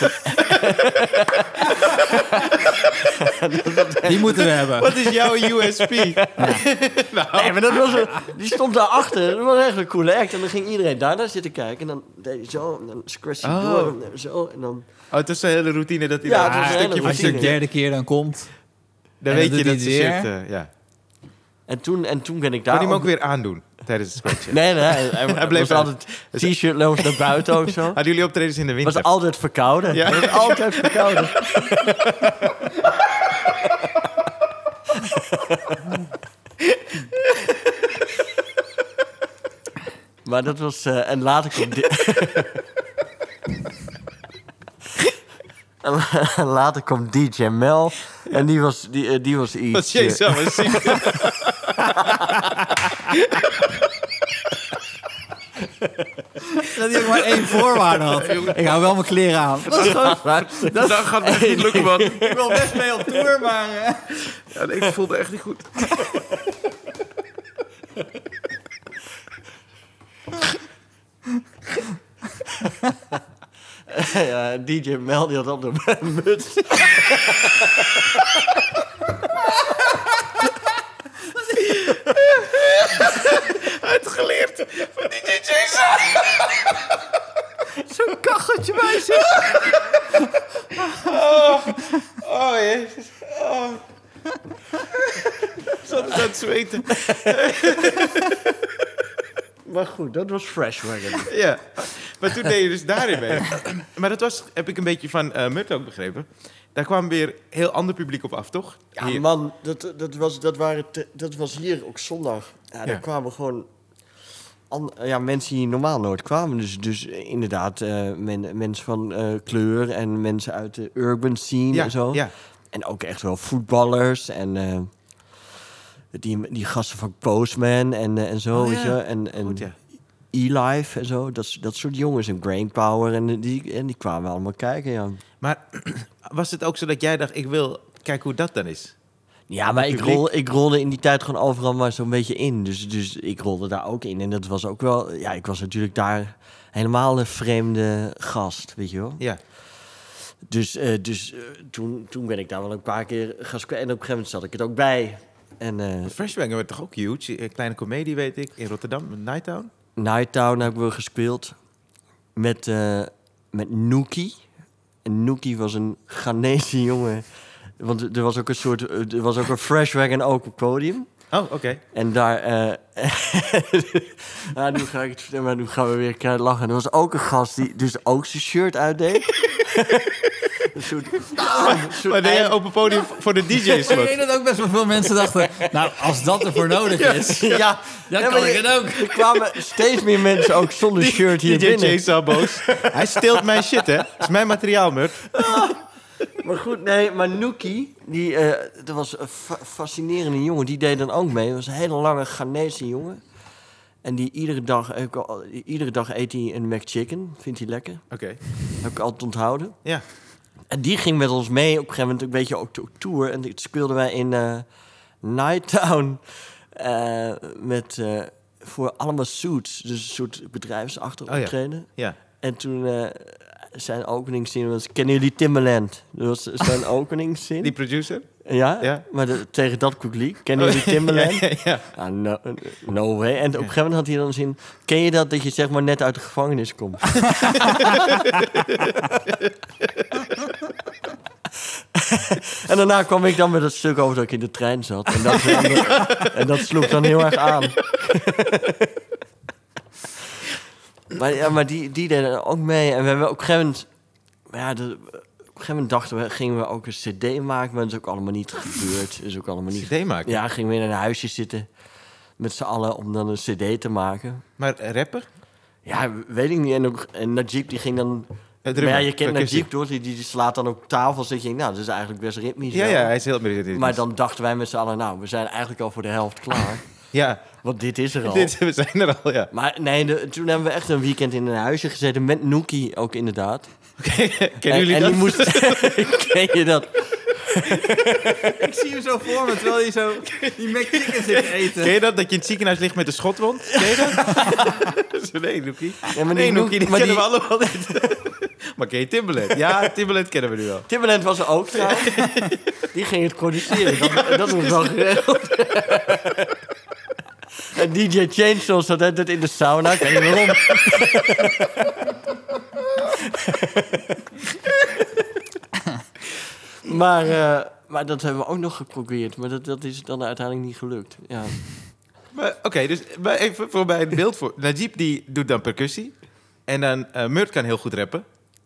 B: Die moeten we hebben.
A: Wat is jouw USP?
C: nee, maar dat was een, die stond daarachter. Dat was echt een coole act. En dan ging iedereen daarna zitten kijken. En dan deed hij zo, en dan scratchte hij
A: Oh.
C: door. En dan zo, en dan...
A: Oh, het is een hele routine dat hij
C: Ja,
A: daar
C: het is
A: een
C: een
A: stukje
C: hele
A: voor
B: Als je de
A: stukje...
C: routine.
B: derde keer dan komt.
A: Dan
B: En
A: weet
B: dan
A: je
B: doet
A: dat ze
B: hij het
A: shirt...
B: weer.
A: eh, ja.
C: En toen, en toen ben ik
A: Kon
C: daar...
A: hij hem ook weer aandoen tijdens het scratchen?
C: Nee, nee, hij,
A: Hij bleef
C: bleef
A: uit.
C: altijd t-shirtloos naar buiten of zo.
A: Hadden jullie optredens in de winter?
C: was altijd verkouden.
A: Ja.
C: Was altijd verkouden. maar dat was... eh, en later kwam... Di- En later kwam DJ Mel. En die was, die, eh, die was iets...
A: Was Chainsaw een ziekte?
B: Dat hij ook maar één voorwaarde had. Ik hou wel mijn kleren aan. Dat is gewoon...
A: Dat gaat me niet lukken, man.
B: Ik wil best mee op tour, maar... eh,
A: Ja, nee, ik voelde echt niet goed.
C: eh, ja, DJ Mel die had altijd een muts.
A: Uitgeleerd van DJ Chainsaw.
B: Zo'n kacheltje bij zich.
A: Oh, jezus. Oh. Zat het aan het zweten.
C: Maar goed, dat was Fresh Wagon.
A: Ja, maar toen deed je dus daarin mee. Maar dat was, heb ik een beetje van eh Murt ook begrepen. Daar kwam weer heel ander publiek op af, toch?
C: Ja,
A: Hier.
C: man, dat, dat, was, dat, waren te- dat was hier ook zondag. Ja, daar
A: Ja.
C: kwamen gewoon an- ja, mensen die normaal nooit kwamen. Dus, dus inderdaad, eh, men- mensen van eh, kleur en mensen uit de urban scene
A: ja,
C: en zo.
A: Ja.
C: En ook echt wel voetballers en eh, die, die gasten van Postman en, eh, en zo.
A: Oh,
C: weet
A: ja.
C: je? En, en
A: Goed, ja.
C: E-Life en zo. Dat, dat soort jongens en Brainpower. En die, en die kwamen allemaal kijken, ja.
A: Maar was het ook zo dat jij dacht, ik wil kijken hoe dat dan is?
C: Ja, maar ik,
A: publiek.
C: rol, ik rolde in die tijd gewoon overal maar zo'n beetje in. Dus, dus ik rolde daar ook in. En dat was ook wel... Ja, ik was natuurlijk daar helemaal een vreemde gast, weet je wel.
A: Ja.
C: Dus, eh, dus eh, toen, toen ben ik daar wel een paar keer gaan squa- En op een gegeven moment zat ik het ook bij. En eh
A: Freshbanger werd toch ook huge? Eh, Kleine comedie, weet ik, in Rotterdam, Nighttown.
C: Nighttown hebben we gespeeld met, eh met Nookie. En Nookie was een Ghanese jongen. Want er- er was ook een soort... eh, Er was ook een Fresh Wagon ook op het podium.
A: Oh, oké.
C: En daar... eh ja, nu ga ik het vertellen, maar nu gaan we weer keihard lachen. Er was ook een gast die dus ook zijn shirt uitdeed. een soort... een soort
A: Maar deed
C: eind-
A: je open podium voor de DJ's?
B: Ik weet
A: Wat?
B: dat ook best wel veel mensen dachten... Nou, als dat ervoor nodig is...
C: ja,
B: Dan
C: Ja,
B: kan
C: maar
B: ik
C: je-
B: het ook.
C: Er kwamen steeds meer mensen ook zonder shirt hier
A: DJ
C: binnen.
A: Chainsaw boos. Hij steelt mijn shit, hè? Dat is mijn materiaal, Murt.
C: Maar goed, nee, maar Nookie, die, eh, dat was een fa- fascinerende jongen. Die deed dan ook mee. Dat was een hele lange Ghanese jongen. En die iedere dag, eh, iedere dag eet hij een McChicken. Vindt hij lekker.
A: Oké.
C: Heb ik altijd onthouden.
A: Ja.
C: En die ging met ons mee op een gegeven moment een beetje ook op tour. En dit speelden wij in eh Nighttown eh, met, eh, voor allemaal suits. Dus een soort bedrijfsachtig
A: Oh ja.
C: optreden.
A: Ja.
C: En toen eh, zijn openingszin was... Kennen jullie Timbaland? Dat was zijn openingszin.
A: Die producer?
C: Ja,
A: Ja. Oh,
C: maar de- tegen dat publiek. Kennen jullie Timbaland?
A: Ja, ja, ja.
C: Ah, no, no way. En op een gegeven moment had hij dan zin... Ken je dat dat je zeg maar net uit de gevangenis komt? En daarna kwam ik dan met het stuk over dat ik in de trein zat. En dat, en dat sloeg dan heel erg aan. maar ja, maar die, die deden ook mee. En we hebben op een gegeven moment... Ja, de, op een gegeven moment dachten we, gingen we ook een cd maken. Maar dat is ook allemaal niet gebeurd. Is ook allemaal niet...
A: CD maken.
C: Ja, gingen we in een huisje zitten met z'n allen om dan een cd te maken.
A: Maar rapper?
C: Ja, weet ik niet. En, ook, en Najib die ging dan...
A: Eh, drummer.
C: Maar ja, je kent
A: Percussie.
C: Najib, toch? Die, die die slaat dan op tafels. Dat je denkt, nou, dat is eigenlijk best ritmisch.
A: Ja,
C: wel.
A: ja, hij is heel meer.
C: Maar dan dachten wij met z'n allen, nou, we zijn eigenlijk al voor de helft klaar.
A: Ja,
C: want dit is er al.
A: dit, we zijn er al, ja.
C: Maar nee, de- toen hebben we echt een weekend in een huisje gezeten met Nookie ook inderdaad.
A: Kennen jullie
C: en,
A: dat?
C: En die moest... Ken je dat?
B: Ik zie hem zo voor me, terwijl hij zo die McChicken zit te eten.
A: Ken je dat? Dat je in het ziekenhuis ligt met een schotwond? Ken je dat? Zo, nee, Noekie.
C: Ja, maar die
A: Nee,
C: Noek-
A: Noekie, die
C: maar
A: kennen we
C: die-
A: allemaal niet. maar ken je Timbaland? Ja, Timbaland kennen we nu wel.
C: Timbaland was er ook trouwens. Die ging het produceren. Dat, dat was wel geregeld. En DJ Chainsaw zat altijd in de sauna. Ik weet niet waarom. maar, eh, maar dat hebben we ook nog geprobeerd. Maar dat, dat is dan uiteindelijk niet gelukt. Ja.
A: Maar oké, dus maar even voor bij het beeld voor. Najib die doet dan percussie. En dan eh Murt kan heel goed rappen.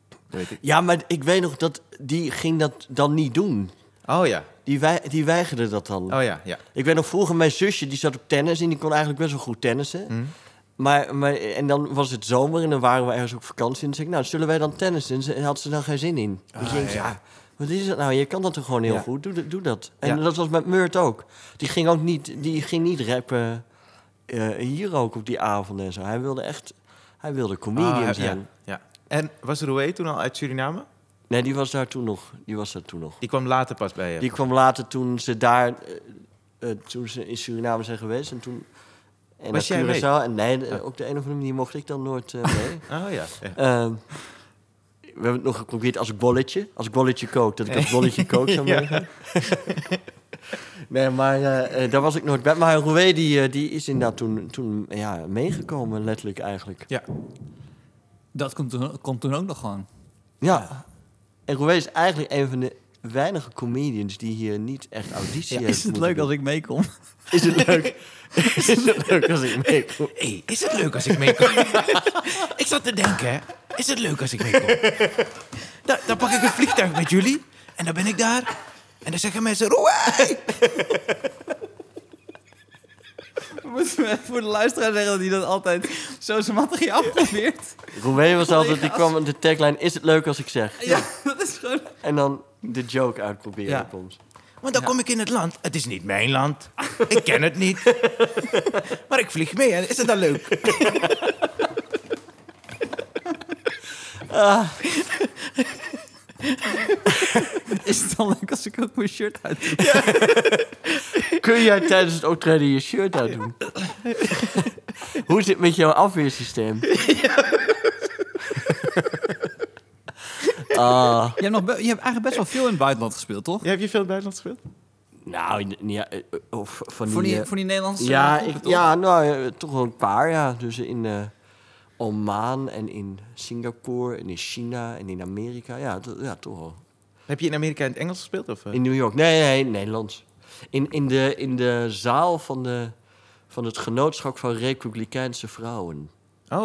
A: Dat weet ik.
C: ja, maar ik weet nog dat die ging dat dan niet doen.
A: Oh ja,
C: Die, wij, die weigerde dat dan.
A: oh ja, ja.
C: Ik weet nog vroeger, mijn zusje die zat op tennis en die kon eigenlijk best wel goed tennissen.
A: Mm.
C: Maar, maar, en dan was het zomer en dan waren we ergens op vakantie. En dan zei ik, nou, zullen wij dan tennissen? En ze- had ze daar geen zin in. Dus ik denk, ja. wat is dat nou? Je kan dat toch gewoon heel
A: Ah, Ja.
C: goed? Doe, dat- doe dat. En
A: Ja.
C: dat was met Murt ook. Die ging ook niet, die ging niet rappen eh, hier ook op die avond en zo. Hij wilde echt, hij wilde comedian
A: Ah,
C: zijn.
A: ja, ja. En was Roué toen al uit Suriname?
C: Nee, die was daar toen nog. Die was daar toen nog.
A: Die kwam later pas bij je.
C: Die kwam later toen ze daar, eh, eh, toen ze in Suriname zijn geweest en toen. En
A: Was
C: naar
A: jij mee?
C: Curaçao. En nee, eh, op de een of andere manier mocht ik dan nooit eh, mee.
A: Oh ja. ja.
C: Ehm, we hebben het nog geprobeerd als bolletje. Als ik bolletje kook, dat ik als bolletje kook zou
A: Ja.
C: maken. nee, maar eh, eh, daar was ik nooit bij. Maar Roué, die, eh, die is inderdaad toen, toen ja, meegekomen, letterlijk eigenlijk.
B: Dat komt toen, komt toen ook nog gewoon.
C: Ja. En Roué is eigenlijk een van de weinige comedians die hier niet echt auditie heeft
B: is het
C: moeten
B: leuk
C: doen.
B: als ik meekom?
C: Is het leuk? Is het leuk als ik meekom?
A: Hey, is het leuk als ik meekom? ik zat te denken, hè. Is het leuk als ik meekom? dan, dan pak ik een vliegtuig met jullie. En dan ben ik daar. En dan zeggen mensen... Roei!
B: Moeten we voor de luisteraar zeggen dat hij dat altijd zo zijn materiaal probeert?
C: Roué was altijd, die
B: Collega's.
C: kwam de tagline, is het leuk als ik zeg?
B: Ja, dat is gewoon...
C: En dan de joke uitproberen
B: Ja.
C: soms.
A: Want dan kom ik in het land. Het is niet mijn land. Ik ken het niet. maar ik vlieg mee. hè. Is het dan leuk?
B: Is het dan leuk als ik ook mijn shirt uit doe?
C: Kun jij tijdens het optreden je shirt uitdoen? Hoe zit het met jouw afweersysteem? Ah,
B: Je hebt, nog be- je hebt eigenlijk best wel veel in het buitenland gespeeld, toch?
A: heb je veel in het buitenland gespeeld?
C: nou, n- n- ja, eh, of van
B: Voor, die,
C: eh,
B: voor die Nederlandse...
C: ja,
B: groepen,
C: ik,
B: toch?
C: ja, nou, eh, toch wel een paar, ja. Dus in eh, Oman en in Singapore en in China en in Amerika. Ja, to- ja toch wel.
A: Heb je in Amerika in het Engels gespeeld? Of, eh?
C: In New York. Nee, nee, Nederlands. In, in, de, in de zaal van, de, van het genootschap van Republikeinse vrouwen.
A: Oh,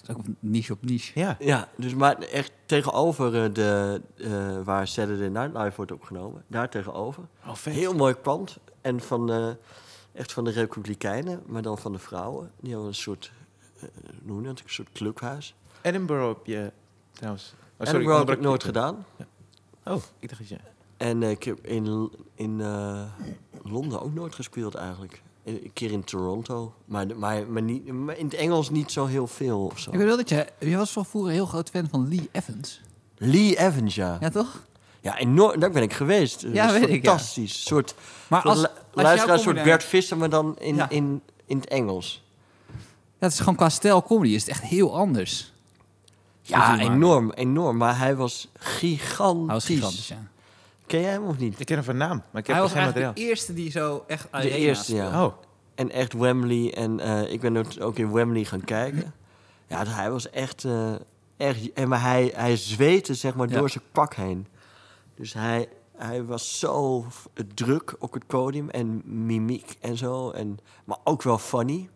B: Dat is ook op niche op niche.
A: ja.
C: Ja, dus maar echt tegenover eh, de, eh, waar Saturday Night Live wordt opgenomen. Daar tegenover.
A: Oh, vet.
C: Heel mooi pand. En van, eh, echt van de Republikeinen, maar dan van de vrouwen. Die hebben een soort, eh, hoe noem je dat, een soort clubhuis.
A: Edinburgh heb je trouwens... Oh, sorry,
C: en dat heb
A: onderbrak
C: ik
A: je.
C: nooit gedaan.
A: Oh, ik dacht dat je...
C: En eh, ik heb in, in eh, Londen ook nooit gespeeld eigenlijk. Een een keer in Toronto. Maar, maar, maar, niet, maar in het Engels niet zo heel veel of zo.
B: Ik weet wel dat je... Je was van vroeger een heel groot fan van Lee Evans.
C: Lee Evans, ja.
B: Ja, toch?
C: Ja, enorm, daar ben ik geweest. Dat
B: Ja,
C: was
B: weet ik, ja.
C: fantastisch. Een soort,
B: Maar
C: soort
B: als,
C: lu-
B: als jouw
C: luisteraar, een soort
B: comedy-
C: Bert Visser, maar dan in,
B: Ja.
C: in, in het Engels.
B: Ja, het is gewoon qua stijl comedy is het echt heel anders.
C: Ja,
B: Dat is waar.
C: enorm, enorm. Maar hij was
B: Hij
C: gigantisch.
B: was gigantisch, ja.
C: Ken jij hem of niet?
A: Ik ken hem van naam, maar ik heb
B: Hij was
A: geen materiaal.
B: eigenlijk de eerste die zo echt
C: De eerste, ja.
A: Oh,
C: En echt Wembley. En eh, ik ben ook- ook in Wembley gaan kijken. Ja, hij was echt... eh echt en maar hij, hij zweette zeg maar
B: Ja.
C: door zijn pak heen. Dus hij, hij was zo f- druk op het podium en mimiek en zo. En, maar ook wel funny.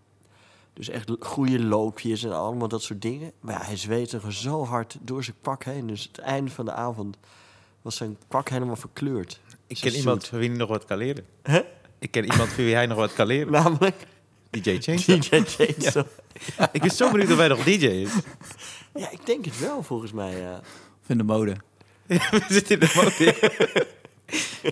C: Dus echt l- goede loopjes en allemaal dat soort dingen. Maar ja, hij zweette er zo hard door zijn pak heen. Dus het einde van de avond was zijn pak helemaal verkleurd.
A: Ik
C: Zo
A: ken iemand
C: zoet.
A: van wie hij nog wat kan leren. Ik ken iemand van wie hij nog wat kan leren.
C: Namelijk
A: DJ Chainsaw.
C: DJ Chainsaw.
A: Ik ben zo benieuwd of hij nog DJ is.
C: Ja. ik denk het wel volgens mij. ja.
B: Of in de mode.
A: We zitten in de mode.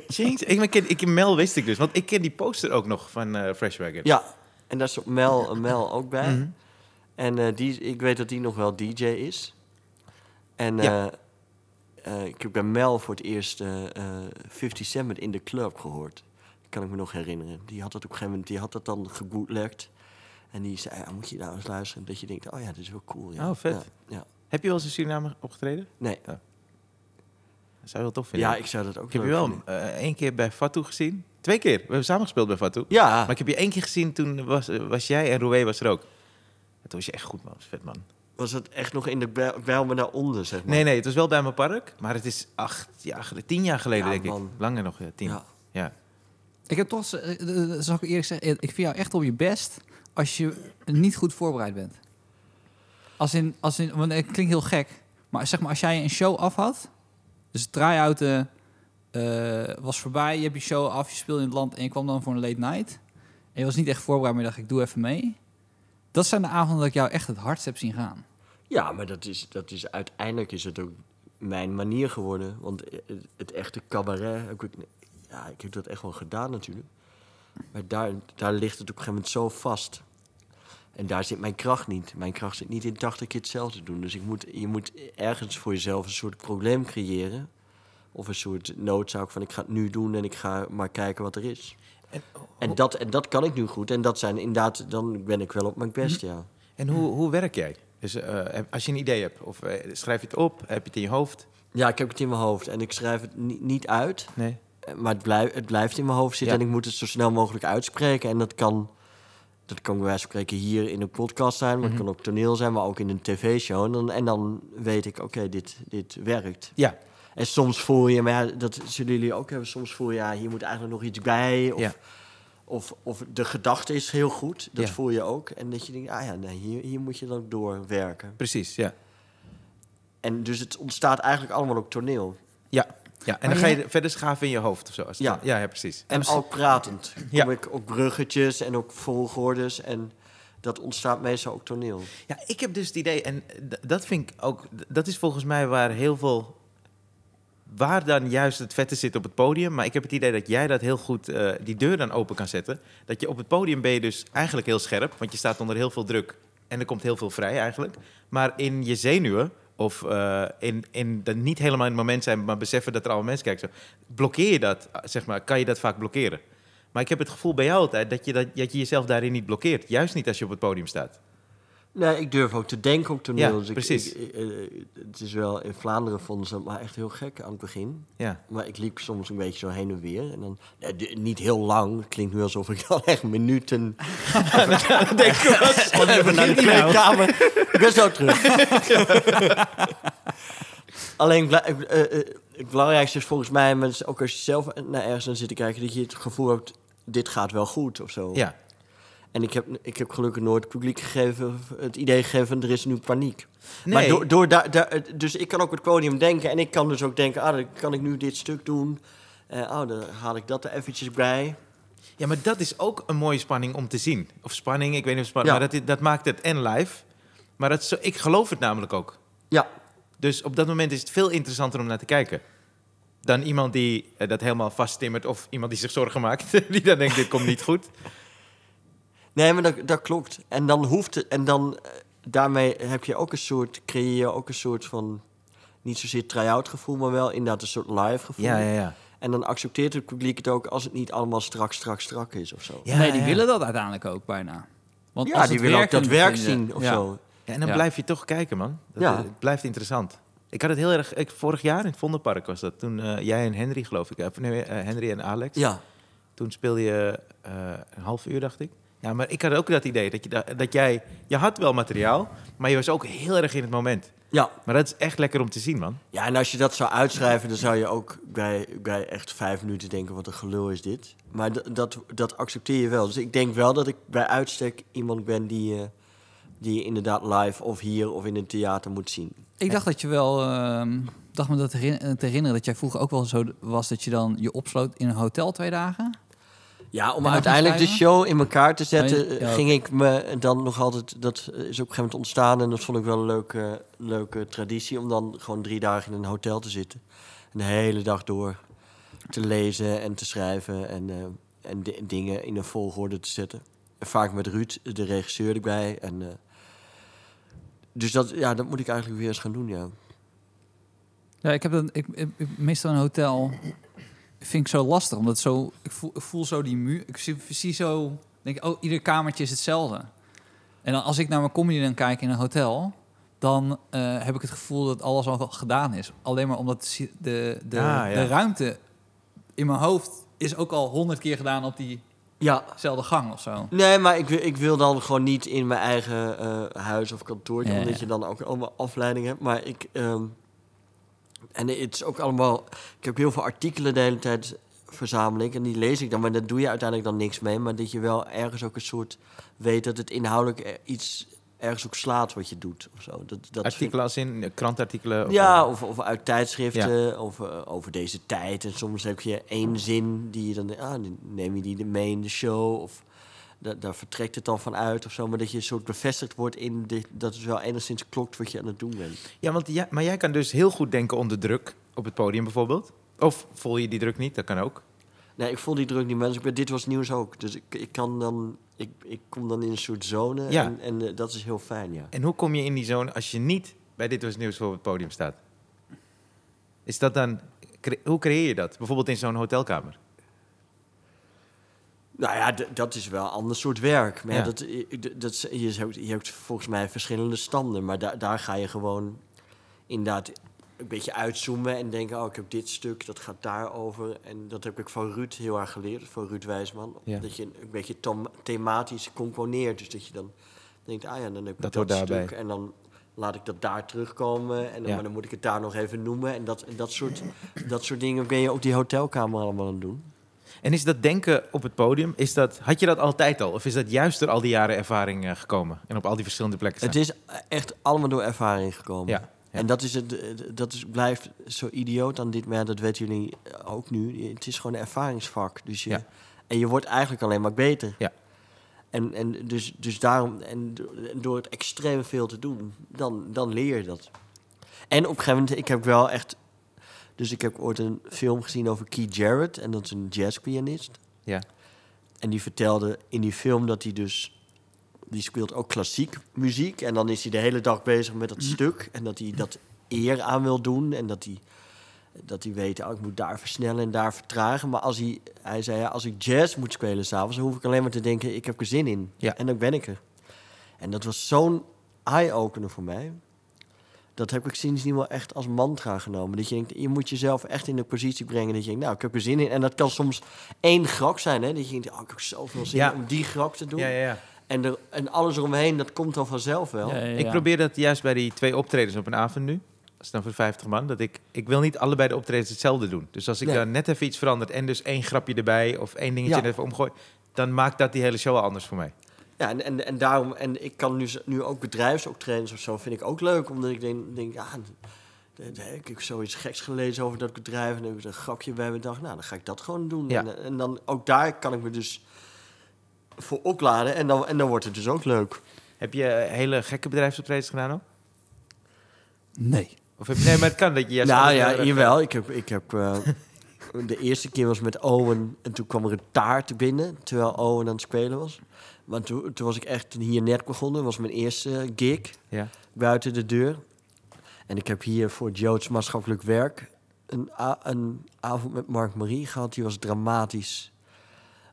A: Chains. Ik, maar ken, ik, Mel wist ik dus, want ik ken die poster ook nog van eh Fresh Wagon.
C: Ja, en daar stond Mel, Mel ook bij.
A: Mhm.
C: En eh, die, ik weet dat die nog wel DJ is. En
A: Ja.
C: eh, eh, ik heb bij Mel voor het eerst eh eh, 50 Cent met In The Club gehoord. kan ik me nog herinneren. Die had dat op een gegeven moment, die had dat dan gebootlegd. En die zei, "Ah, moet je nou eens luisteren? Dat je denkt, oh ja, dat is wel cool. Ja.
A: Oh, vet.
C: Ja, ja.
A: Heb je wel eens in Suriname opgetreden?
C: Nee.
A: Oh. Dat zou je wel tof vinden.
C: ja, ik zou dat ook
A: Ik heb je
C: leuk
A: wel
C: vinden.
A: eh, één keer bij Fatou gezien. Twee keer. We hebben samen gespeeld bij Fatou.
C: Ja,
A: Maar ik heb je één keer gezien, toen was, eh, was jij en Roué was er ook. En toen was je echt goed, man. Dat is vet, man.
C: was dat echt nog in de bel, bel me naar onder, zeg maar?
A: Nee, nee, het was wel bij mijn park. Maar het is acht jaar, gel- tien jaar geleden,
C: Ja,
A: denk
C: man.
A: ik. Langer nog, ja, tien. Ja.
C: Ja.
B: Ik heb toch, z- eh, eh, eh, zal ik eerlijk zeggen, eh, ik vind jou echt op je best als je niet goed voorbereid bent. Als in, als in, want het klinkt heel gek, maar zeg maar als jij een show af had, dus het try-out eh, eh, was voorbij, je hebt je show af, je speelde in het land en je kwam dan voor een late night. En je was niet echt voorbereid, maar je dacht ik doe even mee. Dat zijn de avonden dat ik jou echt het hardst heb zien gaan.
C: Ja, maar dat is, dat is, uiteindelijk is het ook mijn manier geworden. Want eh, het echte cabaret, heb ik, ja, ik heb dat echt wel gedaan natuurlijk. Maar daar, daar ligt het op een gegeven moment zo vast. En daar zit mijn kracht niet. Mijn kracht zit niet in 80 keer hetzelfde doen. Dus ik moet, je moet ergens voor jezelf een soort probleem creëren. Of een soort noodzaak van ik ga het nu doen en ik ga maar kijken wat er is.
A: En,
C: En dat, en dat kan ik nu goed. En dat zijn inderdaad, dan ben ik wel op mijn best, ja.
A: en hoe, hoe werk jij? Dus eh, als je een idee hebt, of eh, schrijf je het op? Heb je het in je hoofd?
C: Ja, ik heb het in mijn hoofd en ik schrijf het ni- niet uit.
A: Nee.
C: Eh, Maar het, blijf, het blijft in mijn hoofd zitten
A: Ja.
C: en ik moet het zo snel mogelijk uitspreken. En dat kan, dat kan bij wijze van spreken hier in een podcast zijn, maar
A: Mhm.
C: het kan ook toneel zijn, maar ook in een tv-show. En dan, en dan weet ik, oké, dit, dit werkt.
A: Ja.
C: En soms voel je, maar ja, dat zullen jullie ook hebben, soms voel je, ja, hier moet eigenlijk nog iets bij. Of,
A: Ja.
C: of, of de gedachte is heel goed, dat
A: Ja.
C: voel je ook. En dat je denkt, ah ja, nee, hier, hier moet je dan doorwerken.
A: Precies, ja.
C: En dus het ontstaat eigenlijk allemaal op toneel.
A: Ja. ja. En
B: Maar
A: dan ga
B: je-
A: je verder schaven in je hoofd of zo. Als het
C: Ja.
A: dan- ja, ja, precies.
C: En al pratend kom
A: Ja.
C: ik op bruggetjes en op volgordes. En dat ontstaat meestal ook toneel.
A: Ja, ik heb dus het idee, en d- dat vind ik ook, d- dat is volgens mij waar heel veel, waar dan juist het vette zit op het podium. Maar ik heb het idee dat jij dat heel goed, eh, die deur dan open kan zetten. Dat je op het podium ben je dus eigenlijk heel scherp, want je staat onder heel veel druk en er komt heel veel vrij eigenlijk. Maar in je zenuwen, of eh, in, in dat niet helemaal in het moment zijn, maar beseffen dat er allemaal mensen kijken, zo, blokkeer je dat, eh, zeg maar, kan je dat vaak blokkeren? Maar ik heb het gevoel bij jou altijd dat je, dat, dat je jezelf daarin niet blokkeert. Juist niet als je op het podium staat.
C: Nee, ik durf ook te denken op toneel. dus
A: Ja,
C: ik-
A: precies.
C: ik- eh, het is wel, in Vlaanderen vonden ze het maar echt heel gek aan het begin.
A: Ja.
C: Maar ik liep soms een beetje zo heen en weer. En dan, nee, d- niet heel lang, het klinkt nu alsof ik dan echt minuten... denk ik even naar de kleedkamer. Ik ben zo terug. Alleen, bla- eh, eh, het belangrijkste is volgens mij, mensen, ook als je zelf naar ergens aan zit te kijken, dat je het gevoel hebt, dit gaat wel goed of zo.
A: Ja.
C: En ik heb, ik heb gelukkig nooit het publiek gegeven, het idee gegeven, er is nu paniek.
A: Nee.
C: Maar door, door daar- daar- dus ik kan ook op het podium denken en ik kan dus ook denken, ah, dan kan ik nu dit stuk doen. Eh, oh, dan haal ik dat er eventjes bij.
A: Ja, maar dat is ook een mooie spanning om te zien. Of spanning, ik weet niet of spanning,
C: Ja.
A: maar dat, dat maakt het en live. Maar dat, is zo- ik geloof het namelijk ook.
C: Ja,
A: Dus op dat moment is het veel interessanter om naar te kijken. Dan iemand die eh, dat helemaal vasttimmert of iemand die zich zorgen maakt. die dan denkt, dit komt niet goed.
C: Nee, maar dat, dat klopt. En dan hoeft het. En dan eh, daarmee heb je ook een soort. creëer je ook een soort van. niet zozeer try-out gevoel, maar wel inderdaad een soort live gevoel.
A: ja.
C: En dan accepteert het publiek het ook als het niet allemaal strak, strak, strak is of zo.
A: Ja,
B: nee, die
A: ja.
B: willen dat uiteindelijk ook bijna. Want
C: Ja,
B: als
C: die
B: het
C: willen ook dat
B: werkende
C: werk
B: vinden-
C: zien of
B: Ja.
C: zo.
A: Ja, en dan
B: Ja.
A: blijf je toch kijken, man. Dat,
C: Ja.
A: eh, het blijft interessant. Ik had het heel erg... Ik, vorig jaar in het Vondelpark was dat. Toen eh, jij en Henry, geloof ik. eh, Of nee, eh, Henry en Alex.
C: Ja.
A: Toen speelde je eh, een half uur, dacht ik. Ja, maar ik had ook dat idee dat, je, da- dat jij... Je had wel materiaal, maar je was ook heel erg in het moment.
C: Ja.
A: Maar dat is echt lekker om te zien, man.
C: ja, en als je dat zou uitschrijven, dan zou je ook bij, bij echt vijf minuten denken: wat een gelul is dit. Maar d- dat, dat accepteer je wel. Dus ik denk wel dat ik bij uitstek iemand ben die, eh, die je inderdaad live of hier of in een theater moet zien.
B: Ik dacht dat je wel... ehm, dacht me dat herin- eh, te herinneren dat jij vroeger ook wel zo d- was dat je dan je opsloot in een hotel twee dagen.
C: Ja, om
B: dan
C: uiteindelijk de
B: gaan schrijven?
C: show in elkaar te zetten, eh,
B: Oh, je- ja,
C: ging ik me dan nog altijd. Dat is op een gegeven moment ontstaan en dat vond ik wel een leuke, leuke traditie. Om dan gewoon drie dagen in een hotel te zitten. En de hele dag door te lezen en te schrijven en, eh, en di- dingen in een volgorde te zetten. En vaak met Ruud, de regisseur, erbij. En, eh, dus dat, ja, dat moet ik eigenlijk weer eens gaan doen, ja.
B: Ja, ik heb dan ik, ik- ik- meestal een hotel vind ik zo lastig omdat zo ik voel, ik voel zo die muur. Ik zie, zie zo denk ik, oh ieder kamertje is hetzelelde. En dan als ik naar mijn comedy dan kijk in een hotel, dan eh, heb ik het gevoel dat alles al gedaan is. Alleen maar omdat si- de, de,
A: Ah, ja.
B: de ruimte in mijn hoofd is ook al honderd keer gedaan op diezelfde
C: Ja,
B: gang of zo.
C: Nee, maar ik wil, ik wil dan gewoon niet in mijn eigen eh, huis of kantoortje,
B: Ja,
C: omdat
B: ja.
C: je dan ook allemaal afleiding hebt. Maar ik. ehm, en het is ook allemaal. Ik heb heel veel artikelen de hele tijd verzamel ik en die lees ik dan. Maar daar doe je uiteindelijk dan niks mee. Maar dat je wel ergens ook een soort weet dat het inhoudelijk er- iets ergens ook slaat wat je doet of zo. Dat, dat vind ik-
A: Artikelen als in eh, krantartikelen. of-
C: ja, of, of uit tijdschriften, of eh, over deze tijd. En soms heb je één zin die je dan... Ah, dan neem je die mee in de show, of da- daar vertrekt het dan van uit of zo. Maar dat je een soort bevestigd wordt in dit, dat het wel enigszins klopt wat je aan het doen bent.
A: ja want ja, maar jij kan dus heel goed denken onder druk. Op het podium bijvoorbeeld. Of voel je die druk niet? Dat kan ook.
C: Nee, ik voel die druk niet, mensen. Dit was nieuws ook. Dus ik, ik kan dan... Ik, ik kom dan in een soort zone
A: Ja.
C: en, en eh, dat is heel fijn, ja.
A: En hoe kom je in die zone als je niet bij Dit Was Nieuws voor op het podium staat? Is dat dan... cre- Hoe creëer je dat? Bijvoorbeeld in zo'n hotelkamer.
C: Nou ja, d- dat is wel een ander soort werk. Maar ja,
A: Ja.
C: dat, i- d- dat, is- je, hebt, je hebt volgens mij verschillende standen. Maar da- daar ga je gewoon inderdaad een beetje uitzoomen en denken... oh, ik heb dit stuk, dat gaat daarover. En dat heb ik van Ruud heel erg geleerd, van Ruud Wijsman.
A: Ja.
C: Dat je een een beetje thom- thematisch componeert. Dus dat je dan denkt, ah ja, dan heb ik
A: Dat
C: dat,
A: hoort
C: stuk.
A: daarbij.
C: En dan laat ik dat daar terugkomen. En dan,
A: Ja.
C: maar dan moet ik het daar nog even noemen. En dat, en dat, soort, dat soort dingen ben je op die hotelkamer allemaal aan het doen.
A: En is dat denken op het podium, is dat, had je dat altijd al? Of is dat juist door al die jaren ervaring eh, gekomen? En op al die verschillende plekken staan?
C: Het is echt allemaal door ervaring gekomen.
A: Ja, ja.
C: En dat, is het, eh, dat is, blijft zo idioot aan dit, maar ja, dat weten jullie eh, ook nu. Het is gewoon een ervaringsvak. Dus je,
A: Ja.
C: En je wordt eigenlijk alleen maar beter.
A: Ja.
C: En, en dus, dus daarom, en do- en door het extreem veel te doen, dan, dan leer je dat. En op een gegeven moment, ik heb wel echt... Dus ik heb ooit een film gezien over Keith Jarrett. En dat is een jazzpianist.
A: Ja.
C: En die vertelde in die film dat hij dus... Die speelt ook klassiek muziek. En dan is hij de hele dag bezig met
A: Mhm.
C: dat stuk. En dat hij dat eer aan wil doen. En dat hij, dat hij weet, oh, ik moet daar versnellen en daar vertragen. Maar als hij, hij zei, ja, als ik jazz moet spelen s'avonds... dan hoef ik alleen maar te denken, ik heb er zin in.
A: Ja.
C: En dan ben ik er. En dat was zo'n eye-opener voor mij. Dat heb ik sindsdien wel echt als mantra genomen. Dat je denkt, je moet jezelf echt in de positie brengen... dat je denkt, nou, ik heb er zin in. En dat kan soms één grap zijn, hè. Dat je denkt, oh, ik heb zoveel zin
A: Ja.
C: om die grap te doen.
A: ja, ja, ja.
C: En, er, en alles eromheen, dat komt dan vanzelf wel.
B: Ja, ja,
A: Ik
B: ja.
A: probeer dat juist bij die twee optredens op een avond nu. Dat is dan voor 50 man. Dat ik, ik wil niet allebei de optredens hetzelfde doen. Dus als ik
C: Nee.
A: dan net even iets verandert en dus één grapje erbij of één dingetje
C: Ja.
A: net even omgooi, dan maakt dat die hele show al anders voor mij.
C: Ja, en, en, en daarom, en ik kan nu, z- nu ook bedrijfsoptredens of zo, vind ik ook leuk. Omdat ik denk, denk ja, d- d- ik heb zoiets geks gelezen over dat bedrijf. En dan heb ik er een grapje bij bedacht. Nou, dan ga ik dat gewoon doen.
A: Ja.
C: En, en dan ook daar kan ik me dus voor opladen. En dan, en dan wordt het dus ook leuk.
A: Heb je eh, hele gekke bedrijfsoptredens gedaan ook?
B: Nee.
A: Of heb je, nee, maar het kan dat je juist...
C: nou
A: altijd heel
C: ja,
A: erg-
C: jawel. Ik heb, ik heb, eh, de eerste keer was met Owen en toen kwam er een taart binnen, terwijl Owen aan het spelen was. Want toen, toen was ik echt hier net begonnen, was mijn eerste eh, gig.
A: Ja.
C: buiten de deur. En ik heb hier voor het Joods maatschappelijk werk een, a- een avond met Mark Marie gehad. Die was dramatisch.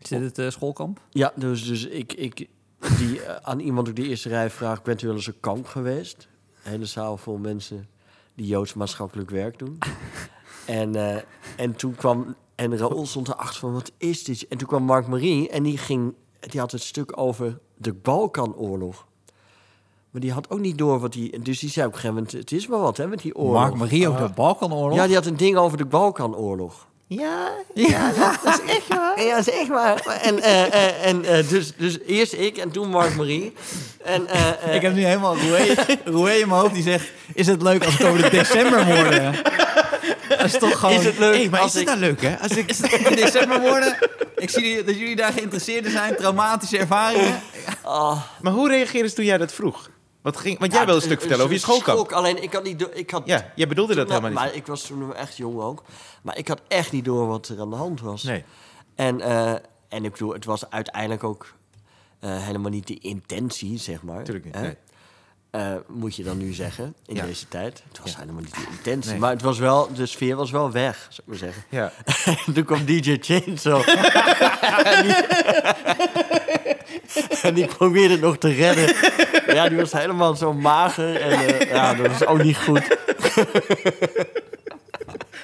B: Is dit het eh, schoolkamp?
C: Ja, dus, dus ik, ik die, eh, aan iemand op de eerste rij vraag... bent u wel eens een kamp geweest? Een hele zaal vol mensen die Joods maatschappelijk werk doen. en, eh, en toen kwam... En Raoul stond erachter van, wat is dit? En toen kwam Mark Marie en die, ging, die had het stuk over de Balkanoorlog. Maar die had ook niet door wat hij... Dus die zei op een gegeven moment, het is wel wat, hè, met die oorlog.
B: Mark Marie over de Balkanoorlog.
C: Ja, die had een ding over de Balkanoorlog.
E: Ja,
C: Ja, zeg maar. En, eh, eh, en eh, dus, dus eerst ik en toen Mark Marie. En, eh, eh,
B: Ik heb nu helemaal Roué, Roué in mijn hoofd die zegt... Is het leuk als het over de decembermoorden... Dat is toch gewoon...
C: Is het leuk
A: Hey, maar
C: als
A: is het
C: ik-
A: nou leuk, hè? Als ik...
B: Is het in decembermoorden? Ik zie die- dat jullie daar geïnteresseerd in zijn. Traumatische ervaringen.
C: Ah.
A: Maar hoe reageerde ze toen jij dat vroeg? Wat ging... Want jij wilde een
C: eh,
A: stuk vertellen over je schoolkamp.
C: dus Schok, alleen ik had niet door... Ik had
A: Ja, jij bedoelde dat helemaal
C: Maar
A: niet.
C: ik was toen echt jong ook. Maar ik had echt niet door wat er aan de hand was.
A: Nee.
C: En, eh, en ik bedoel, het was uiteindelijk ook eh, helemaal niet de intentie, zeg maar.
A: Tuurlijk niet,
C: Hè?
A: nee.
C: Eh, moet je dan nu zeggen, in
A: Ja.
C: deze tijd. Het was helemaal niet de intentie.
A: Nee.
C: Maar het was wel, de sfeer was wel weg, zou ik maar zeggen.
A: Ja.
C: Toen kwam DJ Chainsaw. en, die, en die probeerde nog te redden. Maar ja, die was helemaal zo mager. En eh, ja, dat was ook niet goed.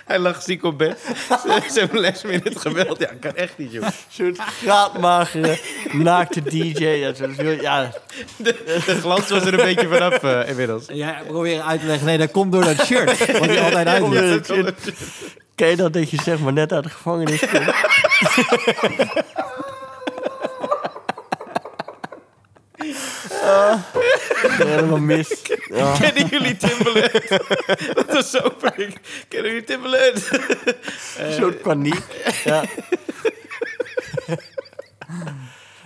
A: Hij lag ziek op bed. Ze ze hebben les in het geweld. Ja, kan echt niet, joh.
C: Zo'n graadmagere, naakte DJ. Ja, zo veel- ja,
A: De glans was er een beetje vanaf eh, inmiddels.
B: Ja, probeer uit te leggen. Nee, dat komt door dat shirt. Wat je altijd uit doet.
C: dat je- ken je dat dat je zeg maar net uit de gevangenis komt? Ah, helemaal mis. Ja.
A: Kennen jullie Timbaland? dat was zo prik. Kennen jullie Timbaland? Eh,
C: Een soort paniek. Ja.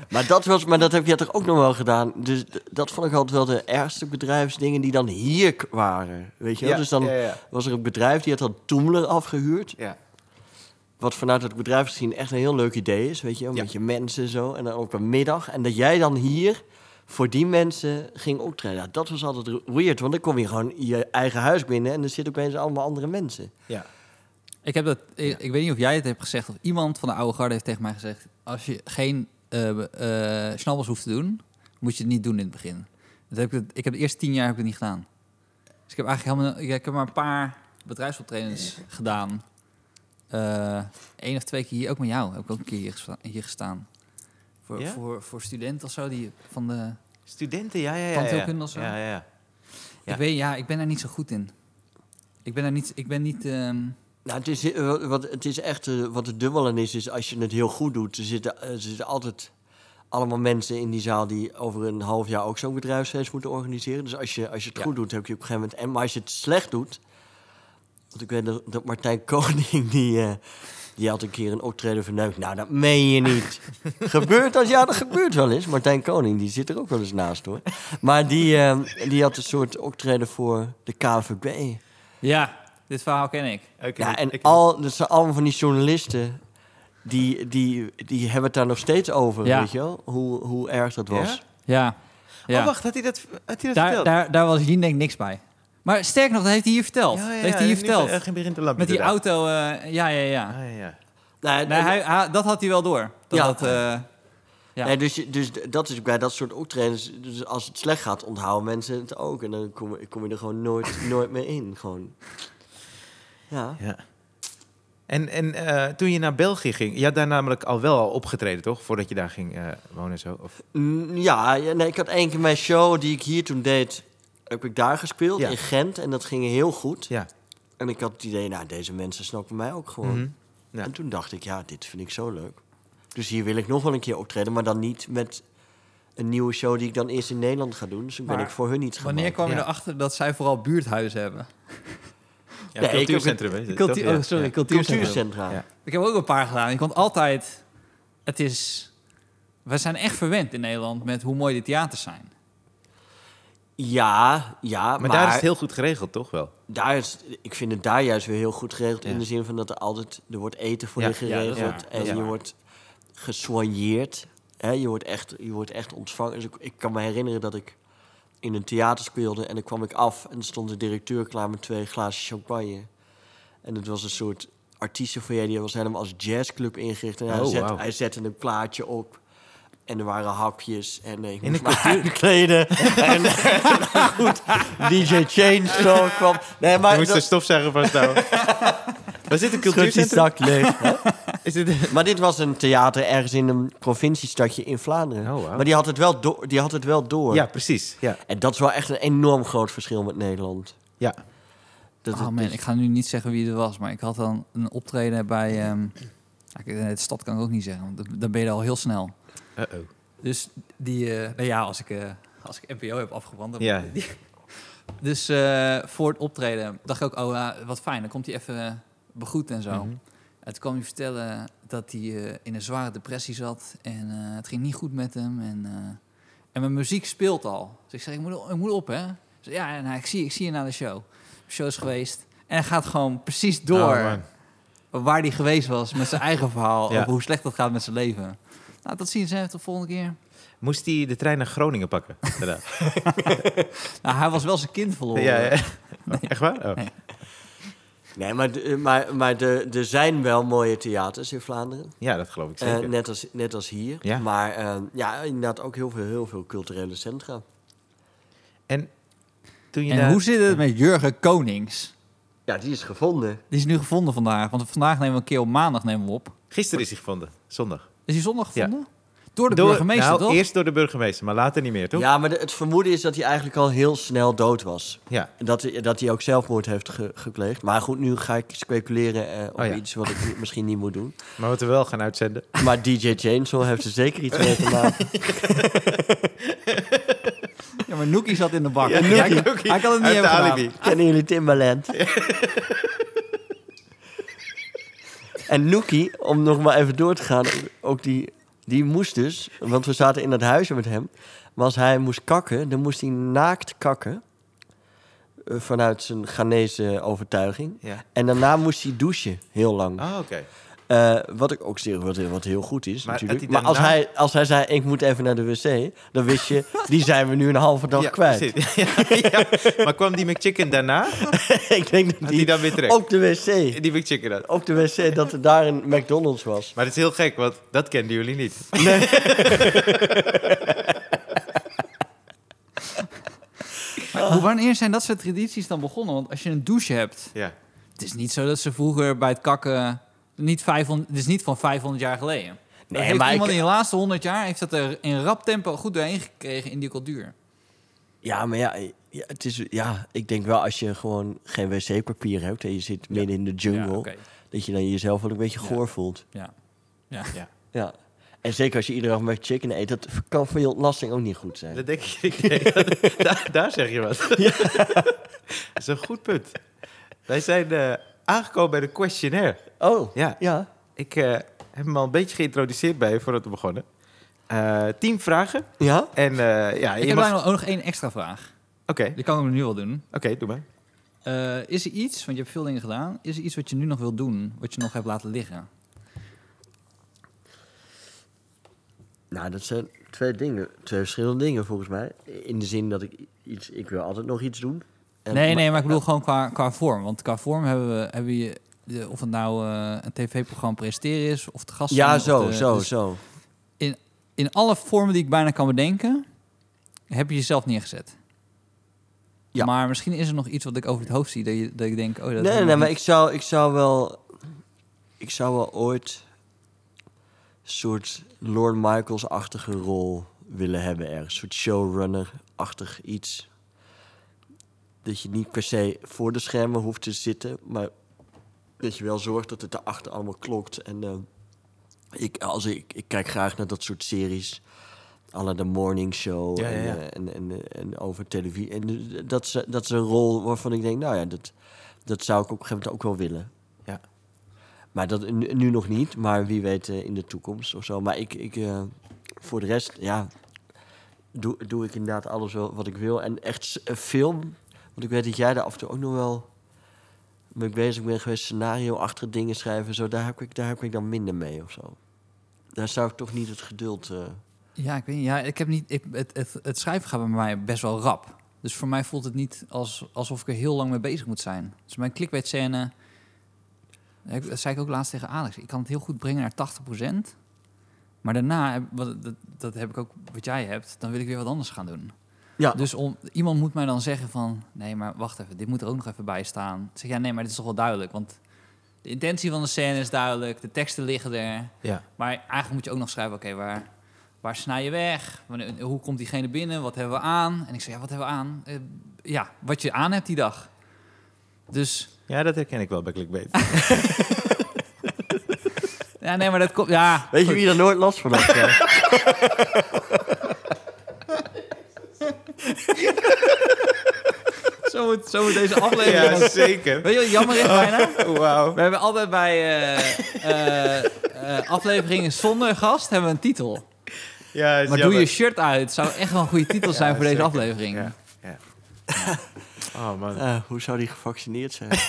C: maar, dat was, maar dat heb jij toch ook nog wel gedaan? Dus d- dat vond ik altijd wel de ergste bedrijfsdingen die dan hier k- waren. Weet je wel?
A: Ja,
C: dus dan
A: ja, ja.
C: was er een bedrijf die had dan Toemler afgehuurd.
A: Ja.
C: Wat vanuit het bedrijfsgezien echt een heel leuk idee is. Weet je wel?
A: Ja.
C: Met je mensen en zo. En dan ook een middag. En dat jij dan hier voor die mensen ging optreden. Ja, dat was altijd weird. Want dan kom je gewoon je eigen huis binnen... en er zitten opeens allemaal andere mensen.
A: Ja.
B: Ik, heb dat, ik, ik weet niet of jij het hebt gezegd of iemand van de oude garde heeft tegen mij gezegd... als je geen eh eh snabbels hoeft te doen, moet je het niet doen in het begin. Dat heb ik, het- ik heb de eerste tien jaar heb ik het niet gedaan. Dus ik heb eigenlijk helemaal... ja, Ik heb maar een paar bedrijfsoptredens gedaan. Eén of twee keer hier, ook met jou, heb ik ook een keer hier gesta- hier gestaan. Voor,
A: Ja?
B: voor, voor studenten of zo, die van de...
A: Studenten, ja, ja, ja.
B: Tandheelkunde of zo?
A: Ja, ja, ja. Ja.
B: Ik, weet, ja, ik ben daar niet zo goed in. Ik ben daar niet... Ik ben niet ehm,
C: Nou, het is, eh, wat- wat, het is echt, eh, wat het dubbel aan is, is als je het heel goed doet, er zitten, eh, er zitten altijd allemaal mensen in die zaal die over een half jaar ook zo'n bedrijfsfeest moeten organiseren. Dus als je, als je het
A: Ja.
C: goed doet, heb je op een gegeven moment... En, maar als je het slecht doet, want ik weet dat, dat Martijn Koning, die, eh, die had een keer een optreden verneukt. Nou, dat meen je niet. gebeurt dat? Ja, dat gebeurt wel eens. Martijn Koning, die zit er ook wel eens naast, hoor. Maar die, eh, die had een soort optreden voor de KVB.
B: Ja, dit verhaal ken ik.
A: Ik-
C: Ja, en
A: ik-
C: al, dat zijn allemaal van die journalisten. Die, die, die hebben het daar nog steeds over,
B: Ja.
C: weet je wel? Hoe, hoe erg dat was.
A: Ja?
B: Ja. ja.
A: Oh, wacht, had hij dat, had hij dat
B: daar,
A: verteld?
B: daar, daar was Jien denk ik niks bij. Maar sterk nog, dat heeft hij hier verteld.
A: Ja, ja,
B: Dat
A: ja,
B: heeft hij hier
A: nu-
B: verteld.
A: eh, Geen begin te lampen.
B: Met die
A: inderdaad.
B: auto, eh, ja, ja, ja.
A: Ah, ja, ja.
C: Nou, en-
B: Nee, hij, hij- dat had hij wel door. Dat
C: Ja.
B: dat, eh, ja.
C: nee, dus, je- dus d- dat is bij dat soort optredens. Dus als het slecht gaat, onthouden mensen het ook. En dan kom, kom je er gewoon nooit, nooit meer in. Gewoon. Ja.
A: Ja. En, en eh, toen je naar België ging, je had daar namelijk al wel al opgetreden, toch? Voordat je daar ging eh, wonen en zo. Of,
C: Mm, Ja, ja, nee, ik had één keer mijn show die ik hier toen deed... heb ik daar gespeeld,
A: Ja.
C: in Gent. En dat ging heel goed.
A: ja.
C: En ik had het idee, nou, deze mensen snappen mij ook gewoon.
A: Mhm. Ja.
C: En toen dacht ik, ja, dit vind ik zo leuk. Dus hier wil ik nog wel een keer optreden, maar dan niet met een nieuwe show die ik dan eerst in Nederland ga doen. Dus toen ben
B: Maar
C: ik voor hun iets gaan
B: Wanneer
C: maken.
B: kwam je
A: ja.
B: erachter dat zij vooral buurthuizen hebben?
A: ja
C: Nee, ik
A: cultuurcentrum, hè?
B: Cultu-
A: Toch? Ja.
B: oh, sorry,
A: Ja.
B: cultuurcentrum.
C: Cultuurcentra.
A: Ja.
B: Ik heb ook een paar gedaan. Je komt altijd... Het is... We zijn echt verwend in Nederland met hoe mooi de theaters zijn.
C: Ja, ja, maar,
A: Maar daar is het heel goed geregeld, toch wel?
C: daar is, ik vind het daar juist weer heel goed geregeld.
A: Ja.
C: In de zin van dat er altijd, er wordt eten voor
A: Ja,
C: je
A: ja,
B: dat is
C: geregeld.
B: waar,
C: en
B: dat is
C: je
B: waar.
C: wordt gesoigneerd. Hè, je, wordt echt, je wordt echt ontvangen. Dus ik, ik kan me herinneren dat ik in een theater speelde. En dan kwam ik af en er stond de directeur klaar met twee glazen champagne. En het was een soort artiestenfoyer. Die was helemaal als jazzclub ingericht. En hij,
A: Oh,
C: zet,
A: wauw.
C: hij zette een plaatje op. En er waren hapjes. En eh, ik
A: In
C: moest
A: de
C: me aankleden. en goed, DJ Chainsaw kwam. Nee, maar
A: Je moest de
C: dat-
A: stofzuiger vasthouden. Waar zit een
C: Schud die
A: cultuurcentrum?
C: zak leeg. hè?
A: Is dit...
C: Maar dit was een theater ergens in een provinciestadje in Vlaanderen.
A: Oh, wauw.
C: Maar die had het wel, door- die had het wel door.
A: Ja, precies. Ja.
C: En dat is wel echt een enorm groot verschil met Nederland.
A: Ja.
C: Dat
B: oh
C: het-
B: man, ik ga nu niet zeggen wie er was, maar ik had dan een optreden bij... ehm, nou, ik- de stad kan ik ook niet zeggen, want dan- dan ben je er al heel snel.
A: Uh-oh.
B: Dus die, eh, nou ja, als ik, eh, als ik NPO heb afgebrand. Dan
A: Ja.
B: Oh, die- dus eh, voor het optreden dacht ik ook, oh ja, wat fijn, dan komt hij even eh, begroet en zo.
A: Mhm.
B: En toen kwam hij vertellen dat hij eh, in een zware depressie zat en eh, het ging niet goed met hem. En, eh, en mijn muziek speelt al. Dus ik zei, ik moet, op- ik moet op, hè? Dus, ja, en hij, ik, zie, ik zie je na de show. De show is geweest. En hij gaat gewoon precies door
A: Oh, man.
B: waar hij geweest was met zijn eigen verhaal.
A: Ja.
B: Over hoe slecht dat gaat met zijn leven. Nou, dat zien ze de volgende keer.
A: Moest hij de trein naar Groningen pakken? daarna?
B: Nou, hij was wel zijn kind verloren.
A: ja, ja. Echt waar? Oh.
B: Nee.
C: Nee, maar, de- maar, maar de, er zijn wel mooie theaters in Vlaanderen.
A: Ja, dat geloof ik
C: Eh,
A: zeker.
C: net, als, net als hier.
A: Ja.
C: Maar eh, ja, inderdaad ook heel veel, heel veel culturele centra.
A: Toen je
B: En
A: daar-
B: hoe zit het met Jurgen Konings?
C: Ja, die is gevonden.
B: Die is nu gevonden vandaag. Want vandaag nemen we een keer op maandag nemen we op.
A: Gisteren is hij gevonden, zondag.
B: Is hij zondag
A: Ja.
B: gevonden? Door de
A: Door-
B: burgemeester,
A: nou,
B: toch?
A: eerst door de burgemeester, maar later niet meer, toch?
C: Ja, maar de- het vermoeden is dat hij eigenlijk al heel snel dood was.
A: Ja.
C: En Dat, hij- dat hij ook zelfmoord heeft ge- gepleegd. Maar goed, nu ga ik speculeren eh, op
A: Oh ja.
C: iets wat ik ni- misschien niet moet doen.
A: Maar wat we wel gaan uitzenden.
C: Maar DJ Jameson heeft er zeker iets mee te maken.
B: Ja, maar Nookie zat in de bak.
A: Ja,
B: hij,
A: Nookie.
B: kan- hij kan het niet
A: Uit de
B: hebben
A: alibi.
B: gedaan.
C: Kennen jullie Timbaland? en Nookie, om nog maar even door te gaan, ook die, die moest dus, want we zaten in dat huisje met hem. Maar als hij moest kakken, dan moest hij naakt kakken. eh, Vanuit zijn Ghanese overtuiging.
A: Ja.
C: En daarna moest hij douchen, heel lang.
A: Ah, oké.
C: Eh, wat ik ook zeg, wat, wat heel goed is
A: Maar
C: natuurlijk.
A: had hij
C: Maar als
A: daarna-
C: hij, als hij zei, ik moet even naar de wc, dan wist je, die zijn we nu een halve dag
A: Ja,
C: kwijt.
A: precies. Ja, ja. Maar kwam die McChicken daarna? Had
C: ik denk dat
A: hij
C: die
A: dan weer terug?
C: op de wc,
A: Die McChicken dan.
C: op de wc, dat er daar een McDonald's was.
A: Maar het is heel gek, want dat kenden jullie niet.
B: Maar hoe- wanneer zijn dat soort tradities dan begonnen? Want als je een douche hebt...
A: Ja.
B: Het is niet zo dat ze vroeger bij het kakken... Niet 500, het is niet van 500 jaar geleden.
C: Nee,
B: Nee, heeft
C: maar
B: iemand
C: ik-
B: in de laatste 100 jaar... heeft dat er in rap tempo goed doorheen gekregen in die cultuur.
C: Ja, maar ja, ja, het is, ja, ik denk wel als je gewoon geen wc-papier hebt en je zit midden in de jungle,
B: Ja, oké.
C: dat je dan jezelf wel een beetje
B: Ja.
C: goor voelt.
B: Ja.
C: Ja. En zeker als je iedere dag met chicken eet, dat kan voor je ontlasting ook niet goed zijn.
A: Dat denk ik. nee, dat- daar, daar zeg je wat. dat is een goed punt. Wij zijn eh, aangekomen bij de questionnaire.
C: Oh,
A: Ja.
C: ja.
A: Ik eh, heb hem al een beetje geïntroduceerd bij je voordat we begonnen. Eh tien vragen.
C: Ja?
A: En eh, ja,
B: Ik
A: je
B: heb
A: mag...
B: daar
A: Oké,
B: nog- ook nog één extra vraag.
A: oké,
B: Die kan ik hem nu wel doen.
A: doe maar.
B: Eh, is er iets, want je hebt veel dingen gedaan, is er iets wat je nu nog wilt doen, wat je nog hebt laten liggen?
C: Nou, dat zijn twee dingen. Twee verschillende dingen volgens mij. In de zin dat ik i- iets. Ik wil altijd nog iets doen. En-
B: nee, nee, maar ik bedoel gewoon qua, qua vorm. Want qua vorm hebben we, hebben je, de- of het nou eh, een tv-programma presteren is, of de gast.
C: Ja,
B: zijn,
C: zo,
B: of de-
C: zo,
B: dus
C: zo.
B: In alle vormen die ik bijna kan bedenken, heb je jezelf neergezet.
C: Ja.
B: Maar misschien is er nog iets wat ik over het hoofd zie, dat, je, dat ik denk, oh, dat
C: Nee,
B: heb
C: nee,
B: ik
C: nee, maar
B: niet.
C: ik zou, ik zou wel. Ik zou wel ooit. Een soort Lorne Michaels-achtige rol willen hebben ergens. Een soort showrunner-achtig iets. Dat je niet per se voor de schermen hoeft te zitten, maar dat je wel zorgt dat het daarachter allemaal klokt. En eh, ik, als ik, ik kijk graag naar dat soort series. Alle de morning show
A: Ja, ja,
C: en,
A: ja.
C: eh, en, en, eh, en over televisie. En eh, dat is, dat is een rol waarvan ik denk, nou ja, dat, dat zou ik op een gegeven moment ook wel willen.
A: Ja.
C: Maar dat nu, nu nog niet, maar wie weet eh, in de toekomst of zo. Maar ik, ik eh, voor de rest, ja, doe, doe ik inderdaad alles wel wat ik wil. En echt s- eh, film, want ik weet dat jij daar af en toe ook nog wel mee bezig bent geweest. Scenario achter dingen schrijven, en zo, daar heb, ik, daar heb ik dan minder mee of zo. Daar zou ik toch niet het geduld... eh,
B: Ja, ik weet niet. Ja, ik heb niet ik, het, het, het schrijven gaat bij mij best wel rap. Dus voor mij voelt het niet als, alsof ik er heel lang mee bezig moet zijn. Dus mijn clickbait scène... Ik, dat zei ik ook laatst tegen Alex. Ik kan het heel goed brengen naar 80%. Maar daarna, heb- wat, dat, dat heb ik ook wat jij hebt... dan wil ik weer wat anders gaan doen.
C: Ja.
B: Dus om, iemand moet mij dan zeggen van... nee, maar wacht even, dit moet er ook nog even bij staan. Ik zeg, ja, nee, maar dit is toch wel duidelijk, want... De intentie van de scène is duidelijk, de teksten liggen er.
A: Ja.
B: Maar eigenlijk moet je ook nog schrijven, oké, waar, waar snij je weg? Wanneer, hoe komt diegene binnen? Wat hebben we aan? En ik zeg, ja, wat hebben we aan? Eh, ja, wat je aan hebt die dag. Dus,
A: Ja, dat herken ik wel bij clickbait.
B: ja, nee, maar dat komt, ja.
C: Weet je
B: goed.
C: wie er nooit last van had? Ja.
B: Zo moet, zo moet deze aflevering.
A: ja,
B: ook.
A: zeker.
B: Weet je wat jammer is bijna?
A: Wauw.
B: We hebben altijd bij eh, eh, eh, afleveringen zonder gast hebben we een titel.
A: Ja, is
B: Maar doe
A: jammer.
B: je shirt uit. Zou echt wel een goede titel zijn voor deze
A: zeker.
B: aflevering.
A: Ja. ja. Oh man.
C: Eh, hoe zou die gevaccineerd zijn?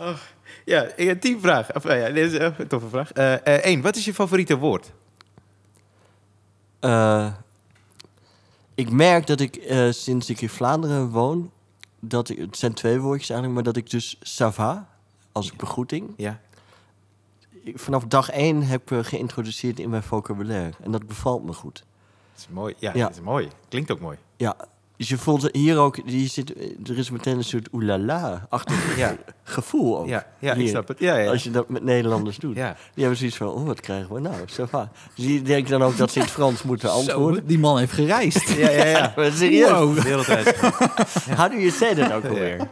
A: Oh. Ja, ik heb tien vragen. Of, nou ja, dit is eh, een toffe vraag. Eén, wat is je favoriete woord?
C: Eh, ik merk dat ik eh, sinds ik in Vlaanderen woon, dat ik, het zijn twee woordjes eigenlijk, maar dat ik dus sava als begroeting.
A: Ja.
C: Ik, vanaf dag één heb eh, geïntroduceerd in mijn vocabulaire. En dat bevalt me goed.
A: Dat is mooi. Ja,
C: Ja.
A: dat is mooi. Klinkt ook mooi.
C: Ja, dus je voelt hier ook, je zit, er is meteen een soort oelala-achtig
A: Ja.
C: gevoel ook.
A: Ja, ja ik
C: Hier.
A: snap het. Ja, ja.
C: Als je dat met Nederlanders doet.
A: ja.
C: Die hebben zoiets van, oh, wat krijgen we nou? Sava. Dus die denken dan ook dat ze in het Frans moeten antwoorden.
B: Zo, die man heeft gereisd.
A: Ja, ja, ja.
C: Maar serieus,
A: De wereld uit.
C: how do you say that ook alweer?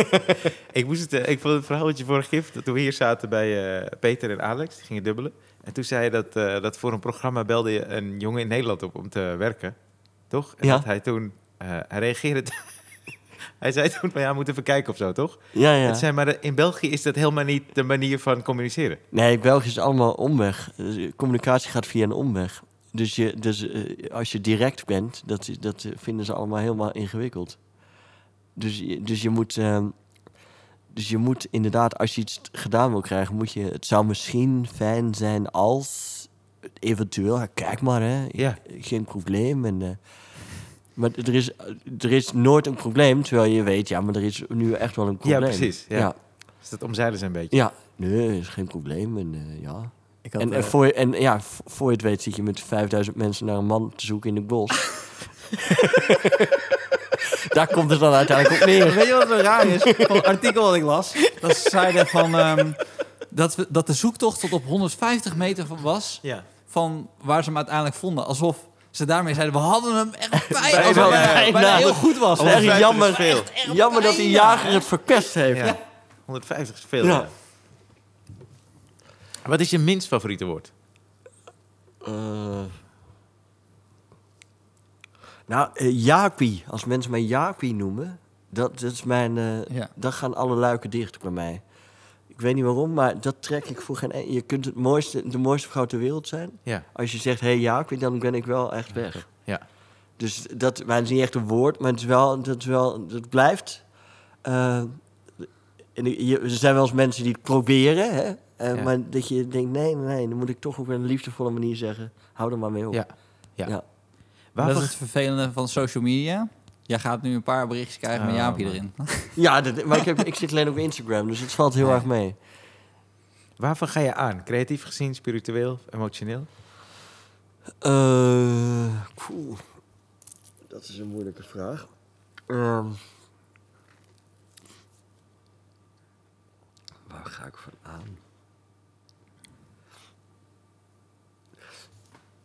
A: ik, moest het, eh, ik vond het verhaaltje vorige keer, dat toen we hier zaten bij eh, Peter en Alex, die gingen dubbelen. En toen zei je dat, eh, dat voor een programma belde je een jongen in Nederland op om te werken. Toch? En
C: Ja.
A: dat hij toen, eh, hij reageerde... hij zei toen van, ja, we moeten even kijken of zo, toch?
C: Ja, ja.
A: Het zei, maar eh, in België is dat helemaal niet de manier van communiceren.
C: Nee, België is allemaal omweg. Eh, Communicatie gaat via een omweg. Dus, je, dus eh, als je direct bent, dat, is- dat eh, vinden ze allemaal helemaal ingewikkeld. Dus, je- dus, je moet, ehm, dus je moet inderdaad, als je iets t- gedaan wil krijgen, moet je... Het zou misschien fijn zijn als... Eventueel, ja, kijk maar, hè.
A: Ja.
C: Geen probleem. En, eh, maar er is, er is nooit een probleem, terwijl je weet... Ja, maar er is nu echt wel een probleem.
A: precies, ja.
C: ja.
A: Dus dat omzeilen ze een beetje.
C: Ja, nee, is geen probleem. En, eh, ja.
B: Ik had,
C: en, en,
B: eh,
C: voor je, en ja, v- voor je het weet zit je met 5000 mensen naar een man te zoeken in het bos. Daar komt het dan uiteindelijk op neer.
B: Weet je wat zo raar is? Van het artikel wat ik las. Dat ze zeiden van, ehm, dat, we, dat de zoektocht tot op 150 meter van was.
A: Ja.
B: Van waar ze hem uiteindelijk vonden. Alsof ze daarmee zeiden, we hadden hem echt bijna.
A: Bijna,
B: Alsof hij
A: bijna.
B: bijna, heel goed was.
C: Het is
A: Alsof- 150
C: echt
A: is
C: jammer,
A: veel.
C: echt jammer dat die jager het verpest heeft.
A: Ja. 150 is veel.
C: Ja.
A: ja. Wat is je minst favoriete woord?
C: Eh, nou, eh, Jaapie. Als mensen mij Jaapie noemen, dat, dat is mijn... eh,
B: Ja.
C: Dan gaan alle luiken dicht bij mij. Ik weet niet waarom, maar dat trek ik voor geen... en- Je kunt het mooiste, de mooiste vrouw ter wereld zijn.
A: Ja.
C: Als je zegt, hé hey, Jaapie, dan ben ik wel echt weg.
A: Ja.
C: Dus dat, maar het is niet echt een woord, maar het is wel... Dat, is wel, dat blijft... eh, en je- er zijn wel eens mensen die het proberen, hè? eh,
A: Ja.
C: Maar dat je denkt, nee, nee, dan moet ik toch op een liefdevolle manier zeggen... hou er maar mee op.
A: Ja. Ja.
C: Ja.
A: Waarvoor
B: Dat is het vervelende van social media. Jij gaat nu een paar berichtjes krijgen met
A: Oh,
B: Jaapie
A: man.
B: erin.
C: Ja, dat- maar ik, heb, ik zit alleen op Instagram, dus het valt heel
B: Ja.
C: erg mee.
A: Waarvan ga je aan? Creatief gezien, spiritueel, emotioneel?
C: Eh, poeh. Dat is een moeilijke vraag. Ehm. waar ga ik van aan?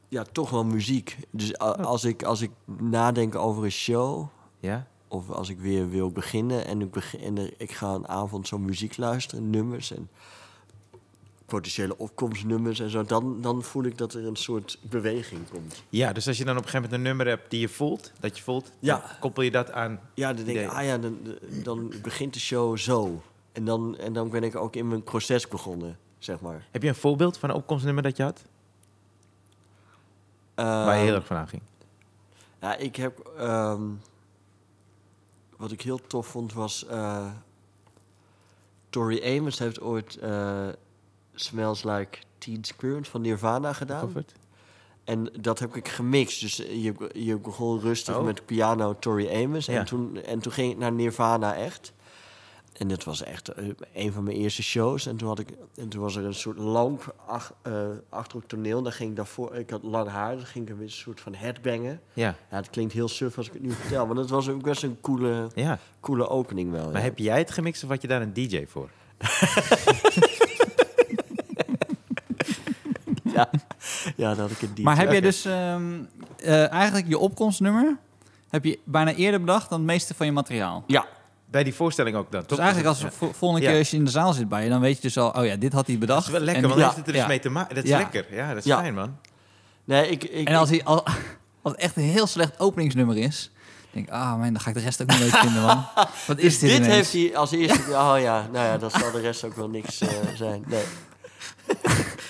C: Ja, toch wel muziek. Dus a- als ik, als ik nadenk over een show,
A: Ja?
C: of als ik weer wil beginnen en ik, begin, en er- ik ga een avond zo muziek luisteren, nummers en potentiële opkomstnummers en zo, dan, dan voel ik dat er een soort beweging komt.
A: Ja, dus als je dan op een gegeven moment een nummer hebt die je voelt, dat je voelt,
C: Ja.
A: dan koppel je dat aan.
C: Ja, dan denk ik,
A: Idee.
C: ah ja, dan, dan begint de show zo. En dan, en dan ben ik ook in mijn proces begonnen, zeg maar.
A: Heb je een voorbeeld van een opkomstnummer dat je had? waar je heel erg van aan ging.
C: Ehm, Ja, ik heb. ehm, wat ik heel tof vond was. eh Tori Amos heeft ooit. eh, Smells Like Teen Spirit van Nirvana gedaan.
A: Gecoverd?
C: En dat heb ik gemixt. Dus eh, je, je begon rustig
A: Oh.
C: met piano Tori Amos.
A: Ja.
C: En, toen, en toen ging ik naar Nirvana echt. En dat was echt eh, een van mijn eerste shows. En toen, had ik, en toen was er een soort lamp ach- eh, achter op het toneel. Daar ging ik, daarvoor, ik had lang haar, dan ging ik een soort van headbangen.
A: Ja,
C: Ja, het klinkt heel suf als ik het nu vertel. Maar dat was ook best een coole,
A: ja.
C: coole opening wel.
A: Maar
C: Oh, ja.
A: heb jij het gemixt of had je daar een DJ voor?
C: ja, dat had ik een DJ.
B: Maar heb je
C: Oké.
B: dus ehm, eh, eigenlijk je opkomstnummer heb je bijna eerder bedacht dan het meeste van je materiaal?
C: Ja,
A: Bij die voorstelling ook dan, toch?
B: Dus eigenlijk als de vo- volgende keer
A: Ja.
B: als je in de zaal zit bij je, dan weet je dus al, oh ja, dit had hij
A: Dat
B: bedacht.
A: is wel lekker,
B: en,
A: want
B: die-
A: dan
C: Ja.
A: heeft het er dus
B: Ja.
A: mee te maken. Dat is
B: Ja.
A: lekker. Ja, dat is
C: Ja.
A: fijn, man.
C: nee, ik... ik
B: en als hij al, als het echt een heel slecht openingsnummer is, denk ik, ah man, dan ga ik de rest ook niet leuk vinden, man. Wat is Dus dit?
C: dit
B: ineens?
C: heeft hij als eerste... Oh ja, nou ja, dat zal de rest ook wel niks eh, zijn. Nee.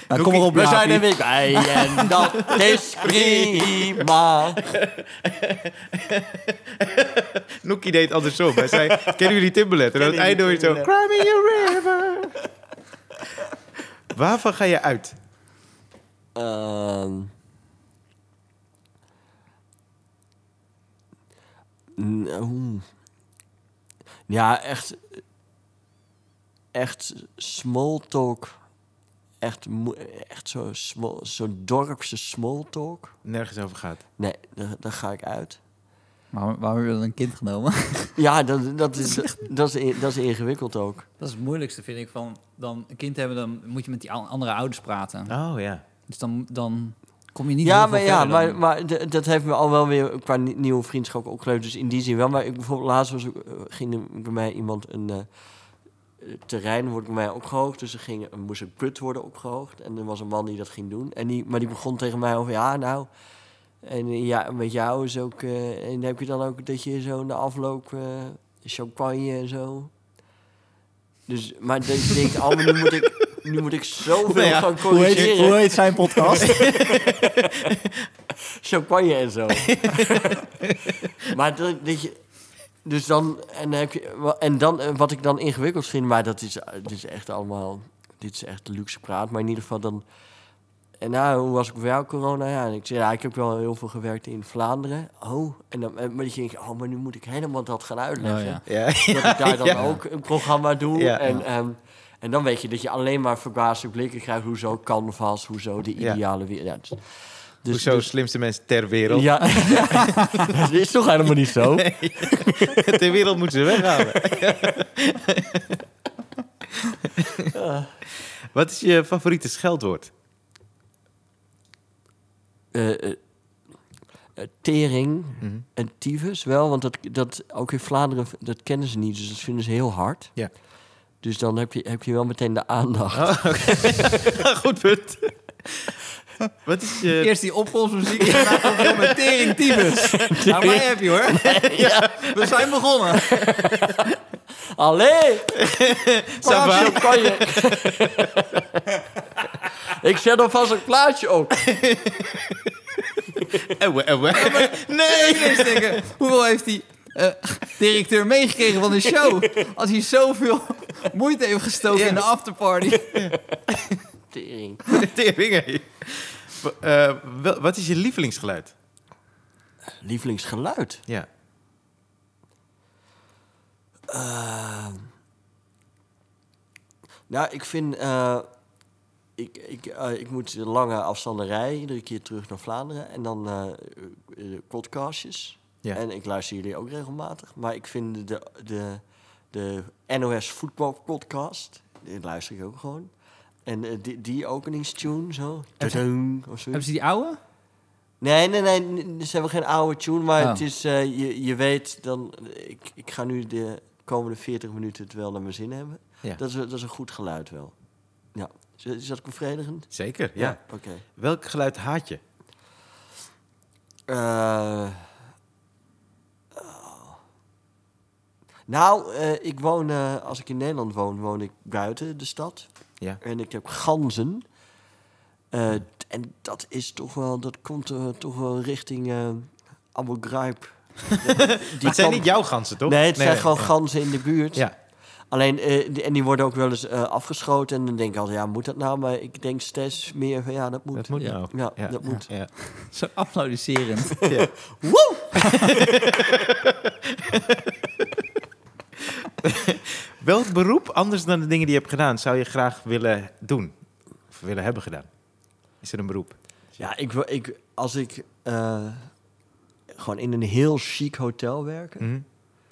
B: nou, kom erop,
C: We
B: Jaapie.
C: zijn er weer bij en dat is prima.
A: Noekie deed andersom. Hij zei, kennen jullie Timbaland? En aan het
C: Kennen
A: einde hoor je
C: jullie
A: zo, Cry me a river. Waarvan ga je uit?
C: Ehm. Nou. Ja, echt. Echt small talk. Echt, moe- echt zo'n small- zo'n dorpse small talk.
A: Nergens over gaat.
C: Nee, daar, daar ga ik uit.
B: Waarom, waarom hebben we dan een kind genomen?
C: Ja, dat, dat, is, dat, is, in- dat is ingewikkeld ook.
B: Dat is het moeilijkste, vind ik, van dan een kind hebben, dan moet je met die andere ouders praten.
A: Oh ja.
B: Dus dan, dan kom je niet
C: Ja,
B: heel
C: maar,
B: veel
C: ja
B: verder
C: maar,
B: dan-
C: maar d- dat heeft me al wel weer qua ni- nieuwe vriendschap opgeleverd. Dus in die zin wel. Maar ik, bijvoorbeeld laatst was, ook, eh, ging er bij mij iemand een... eh, eh, terrein wordt bij mij opgehoogd. Dus er, ging, er moest een put worden opgehoogd. En er was een man die dat ging doen. En die, maar die begon tegen mij over... Ja, nou... En eh, ja, met jou is ook... eh, en heb je dan ook dat je zo in de afloop... eh, champagne en zo... Dus, maar dat je denkt, allemaal, nu moet ik, nu moet ik zoveel
A: Nou ja,
C: gaan
B: Hoe heet-
C: corrigeren.
B: hoe heet zijn podcast?
C: champagne en zo. maar dat, dat je, dus dan en, dan heb je, wa- en dan eh, wat ik dan ingewikkeld vind, maar dat is, eh, dit is echt allemaal, dit is echt luxe praat. Maar in ieder geval dan. En nou, hoe was ik voor jou corona? Ja, en ik zei, ja, ik heb wel heel veel gewerkt in Vlaanderen. Oh, en dan, en- maar dat je denkt, oh, maar nu moet ik helemaal dat gaan uitleggen.
B: Oh, ja.
A: Ja.
C: Dat ik daar dan
A: Ja.
C: ook een programma doe.
A: Ja.
C: en, ehm, en dan weet je dat je alleen maar verbaasde blikken krijgt. Hoezo canvas, hoezo de
A: Ja.
C: ideale wereld. Ja, dus, dus-
A: Hoezo
C: dus-
A: slimste mensen ter wereld?
C: ja, dat is toch helemaal niet zo?
A: ter wereld moeten ze weghalen. Wat is je favoriete scheldwoord?
C: Eh, eh, eh, tering en tyfus wel, want dat, dat, ook in Vlaanderen dat kennen ze niet, dus dat vinden ze heel hard.
A: Ja.
C: Dus dan heb je, heb je wel meteen de aandacht.
A: Oh, oké. Ah, Goed punt. Wat is je...
B: Eerst die opvolgsmuziek en daarna komt er met tering tyfus. Nou, wij heb je hoor. We zijn begonnen.
C: Allee!
A: va?
C: Plaatje op kan je. Ik zet alvast een plaatje op.
A: Ewe, ewe.
B: Nee! Eerst denken, hoeveel heeft die eh, directeur meegekregen van de show? Als hij zoveel moeite heeft gestoken in de afterparty.
C: Tering.
A: Tering, hé. W- eh, wel- Wat is je lievelingsgeluid?
C: Lievelingsgeluid.
A: Ja.
C: Ehm. nou, ik vind. eh, ik, ik, eh, ik moet de lange afstanden rijden, iedere keer terug naar Vlaanderen. En dan eh, eh, podcastjes.
A: Ja.
C: En ik luister jullie ook regelmatig. Maar ik vind de, de, de NOS Voetbal Podcast. Die luister ik ook gewoon. En eh, die, die openingstune zo. Tudung, of zoiets.
B: Hebben ze die oude?
C: Nee, nee, nee. n- Ze hebben geen oude tune, maar
B: Oh.
C: het is, eh, je, je weet dan... Ik, ik ga nu de komende 40 minuten het wel naar mijn zin hebben.
A: Ja.
C: Dat, is, dat is een goed geluid wel. Ja. Is, is dat bevredigend?
A: Zeker, ja.
C: Oké.
A: Welk geluid haat je?
C: Eh, oh. Nou, eh, ik woon, eh, als ik in Nederland woon, woon ik buiten de stad.
A: Ja.
C: En ik heb ganzen. Eh, t- en dat is toch wel, dat komt eh, toch wel richting eh Abu Ghraib.
A: Die het zijn niet jouw ganzen, toch?
C: Nee, het zijn
A: nee.
C: gewoon ganzen in de buurt.
A: Ja.
C: Alleen, eh, die- en die worden ook wel eens eh, afgeschoten. En dan denk ik altijd, ja, moet dat nou? Maar ik denk steeds meer van, ja, dat moet.
A: Dat moet
B: Ja.
A: nou.
C: Ja,
A: Ja.
C: dat moet.
A: Ja.
B: Zo applaudisserend.
A: Ja. Welk beroep, anders dan de dingen die je hebt gedaan, zou je graag willen doen? Of willen hebben gedaan? Is er een beroep?
C: Ja, ik, wil- ik, als ik eh, gewoon in een heel chic hotel werk.
A: Mhm.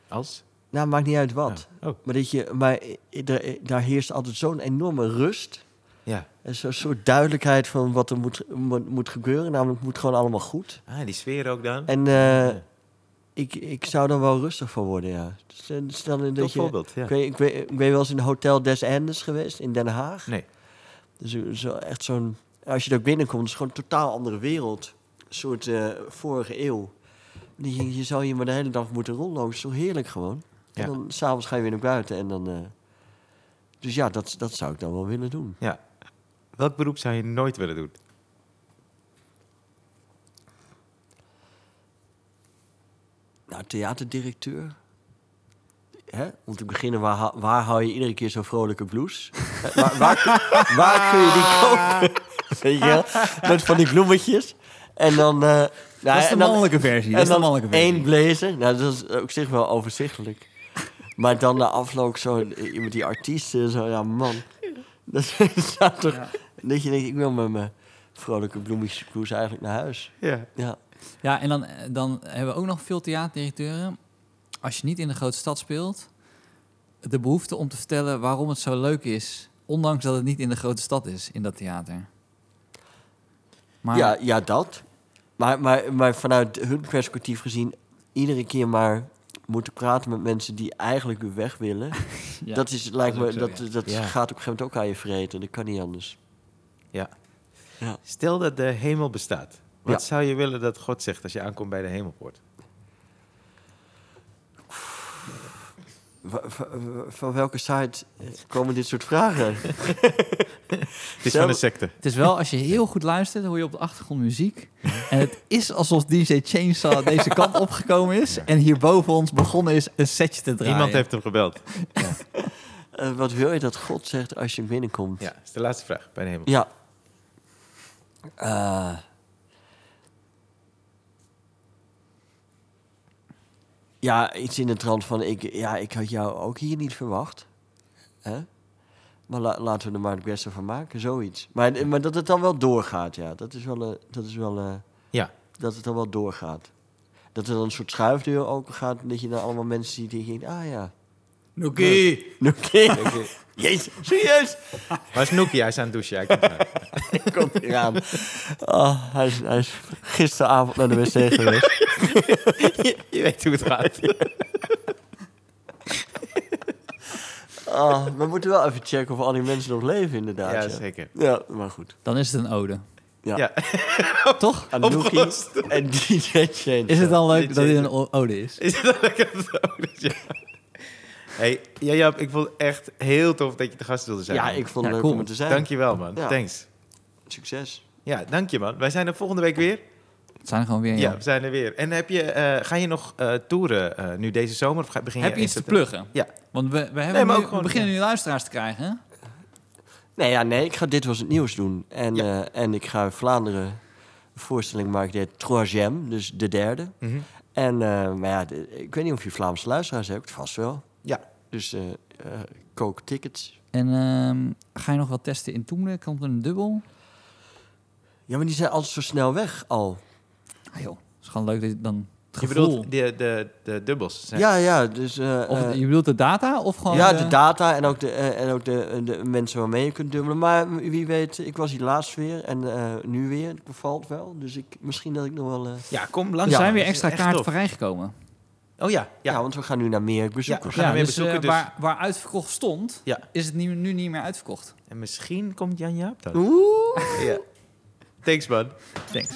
A: Als?
C: Nou, maakt niet uit wat.
A: Ja. Oh.
C: Maar, dat je, maar i- i- daar- i- daar heerst altijd zo'n enorme rust.
A: Ja.
C: En zo'n soort duidelijkheid van wat er moet, mo- moet gebeuren. Namelijk, het moet gewoon allemaal goed.
A: Ah, die sfeer ook dan.
C: En eh, ik, ik zou dan wel rustig van worden, ja. Dus, eh, stel dat
A: Tot
C: je,
A: voorbeeld, ja.
C: ik, weet, ik, weet, ik ben wel eens in Hotel des Andes geweest in Den Haag.
A: Nee.
C: Dus eh, zo, echt zo'n... Als je daar binnenkomt, is het gewoon een totaal andere wereld. Een soort eh, vorige eeuw. Je, je zou je maar de hele dag moeten rondlopen. Zo heerlijk gewoon.
A: Ja.
C: En dan s'avonds ga je weer naar buiten en dan... eh, dus ja, dat, dat zou ik dan wel willen doen.
A: Welk beroep zou je nooit willen doen?
C: Nou, theaterdirecteur. Hè? Om te beginnen, waar, ha- waar hou je iedere keer zo'n vrolijke blouse? Hè, waar, waar, kun- waar kun je die kopen? Weet je wel? Met van die bloemetjes. En dan... eh, nou,
B: dat is de
C: en dan-
B: mannelijke versie. Dat
C: en
B: is de
C: dan
B: mannelijke versie.
C: één blazer. Nou, dat is op zich wel overzichtelijk. Maar dan na afloop zo iemand die artiesten zo, ja man. Dat staat toch... Dat je denkt, ik wil met mijn vrolijke bloemetjesblouse eigenlijk naar huis.
A: Ja.
C: Ja.
B: Ja, en dan, eh, dan hebben we ook nog veel theaterdirecteuren. Als je niet in een grote stad speelt, de behoefte om te vertellen waarom het zo leuk is, ondanks dat het niet in de grote stad is, in dat theater. Maar
C: Ja, ja, dat. Maar, maar, maar vanuit hun perspectief gezien, iedere keer maar moeten praten met mensen die eigenlijk weer weg willen.
B: Ja.
C: dat is, lijkt
B: dat
C: me,
B: is ook zo,
C: dat, dat
A: Ja.
C: gaat op een gegeven moment ook aan je vreten. Dat kan niet anders.
A: Stel dat de hemel bestaat. Wat
C: Ja.
A: zou je willen dat God zegt als je aankomt bij de hemelpoort?
C: Wa- va- va- van welke site eh, komen dit soort vragen?
A: Het is
C: Stel-
A: van een secte.
B: het is wel, als je heel goed luistert, hoor je op de achtergrond muziek. en het is alsof DJ Chainsaw deze kant opgekomen is en hier boven ons begonnen is een setje te draaien.
A: Iemand heeft hem gebeld.
C: Eh, wat wil je dat God zegt als je binnenkomt?
A: Ja, dat is de laatste vraag bij de hemel.
C: Ja. Eh. ja, iets in de trant van... Ik, ja, ik had jou ook hier niet verwacht. Hè? Maar la- laten we er maar het beste van maken, zoiets. Maar, maar dat het dan wel doorgaat, ja. Dat is wel... eh, dat is wel eh,
A: Ja.
C: Dat het dan wel doorgaat. Dat er dan een soort schuifdeur open gaat... en dat je dan allemaal mensen ziet die denken... Ah ja,
B: Nookie.
C: oké. Jezus, serieus?
A: Waar is Noekie? Hij is aan het douchen. Hij komt eraan.
C: komt hier aan. Oh, hij, is, hij is gisteravond naar de wc geweest.
A: je, je weet hoe het gaat.
C: Oh, we moeten wel even checken of al die mensen nog leven, inderdaad.
A: Ja,
C: Ja,
A: zeker.
C: Ja, maar goed.
B: Dan is het een ode.
C: Ja.
A: Ja.
B: Toch?
C: Anouki
A: Opgelost.
C: en DJ Change.
B: Is het dan leuk
A: DJ
B: dat dit een o- ode is?
A: Is het dan lekker zo? Dus ja. Hey, ja, Jaap, ik vond het echt heel tof dat je te gast wilde zijn.
C: Ja,
A: man.
C: ik vond het
B: Ja,
C: leuk
B: cool.
C: om er te zijn.
A: Dank je wel, man.
C: Ja.
A: Thanks.
C: Succes.
A: Ja, dank je, man. Wij zijn er volgende week weer.
B: Het zijn er gewoon weer.
A: Ja,
B: ja.
A: we zijn er weer. En heb je, eh, ga je nog eh, toeren eh, nu deze zomer? Of ga- begin
B: Heb je
A: in
B: iets te
A: september?
B: pluggen?
A: Ja.
B: Want we, we,
A: Nee,
B: hebben
A: maar
B: nu,
A: ook gewoon-
B: we beginnen nu luisteraars te krijgen. hè?
C: Nee, ja, nee, ik ga dit was het nieuws doen. En, eh, en ik ga in Vlaanderen een voorstelling maken, de Troisième, dus de derde.
A: Mhm.
C: En, eh, maar ja, de- ik weet niet of je Vlaamse luisteraars hebt, vast wel.
A: Ja.
C: Dus eh, eh, kook tickets.
B: En ehm, ga je nog wat testen in Toemelen? Komt er een dubbel?
C: Ja, maar die zijn altijd zo snel weg al.
B: Ah joh, is gewoon leuk dat je dan het
A: Je
B: gevoel...
A: bedoelt de, de, de dubbels? zijn-
C: Ja, ja, dus... eh,
B: of het-
C: eh,
B: je bedoelt de data of gewoon...
C: ja,
B: de-
C: de data en ook, de, eh, en ook de, de mensen waarmee je kunt dubbelen. Maar wie weet, ik was hier laatst weer en eh, nu weer. Het bevalt wel. Dus ik, misschien dat ik nog wel... eh,
A: ja, kom langs.
B: Er zijn weer
A: Dat is
B: extra
A: echt
B: kaarten
A: tof.
B: vrijgekomen.
A: Oh ja,
C: ja.
A: ja. ja.
C: want we gaan nu naar meer bezoekers.
A: Ja, we gaan weer
B: eh,
A: bezoeken, dus-
B: Waar, waar uitverkocht stond,
A: Ja.
B: is het nu, nu niet meer uitverkocht.
A: En misschien komt Jan Jaap dan.
C: Oeh!
A: Ja. Thanks, man.
B: Thanks.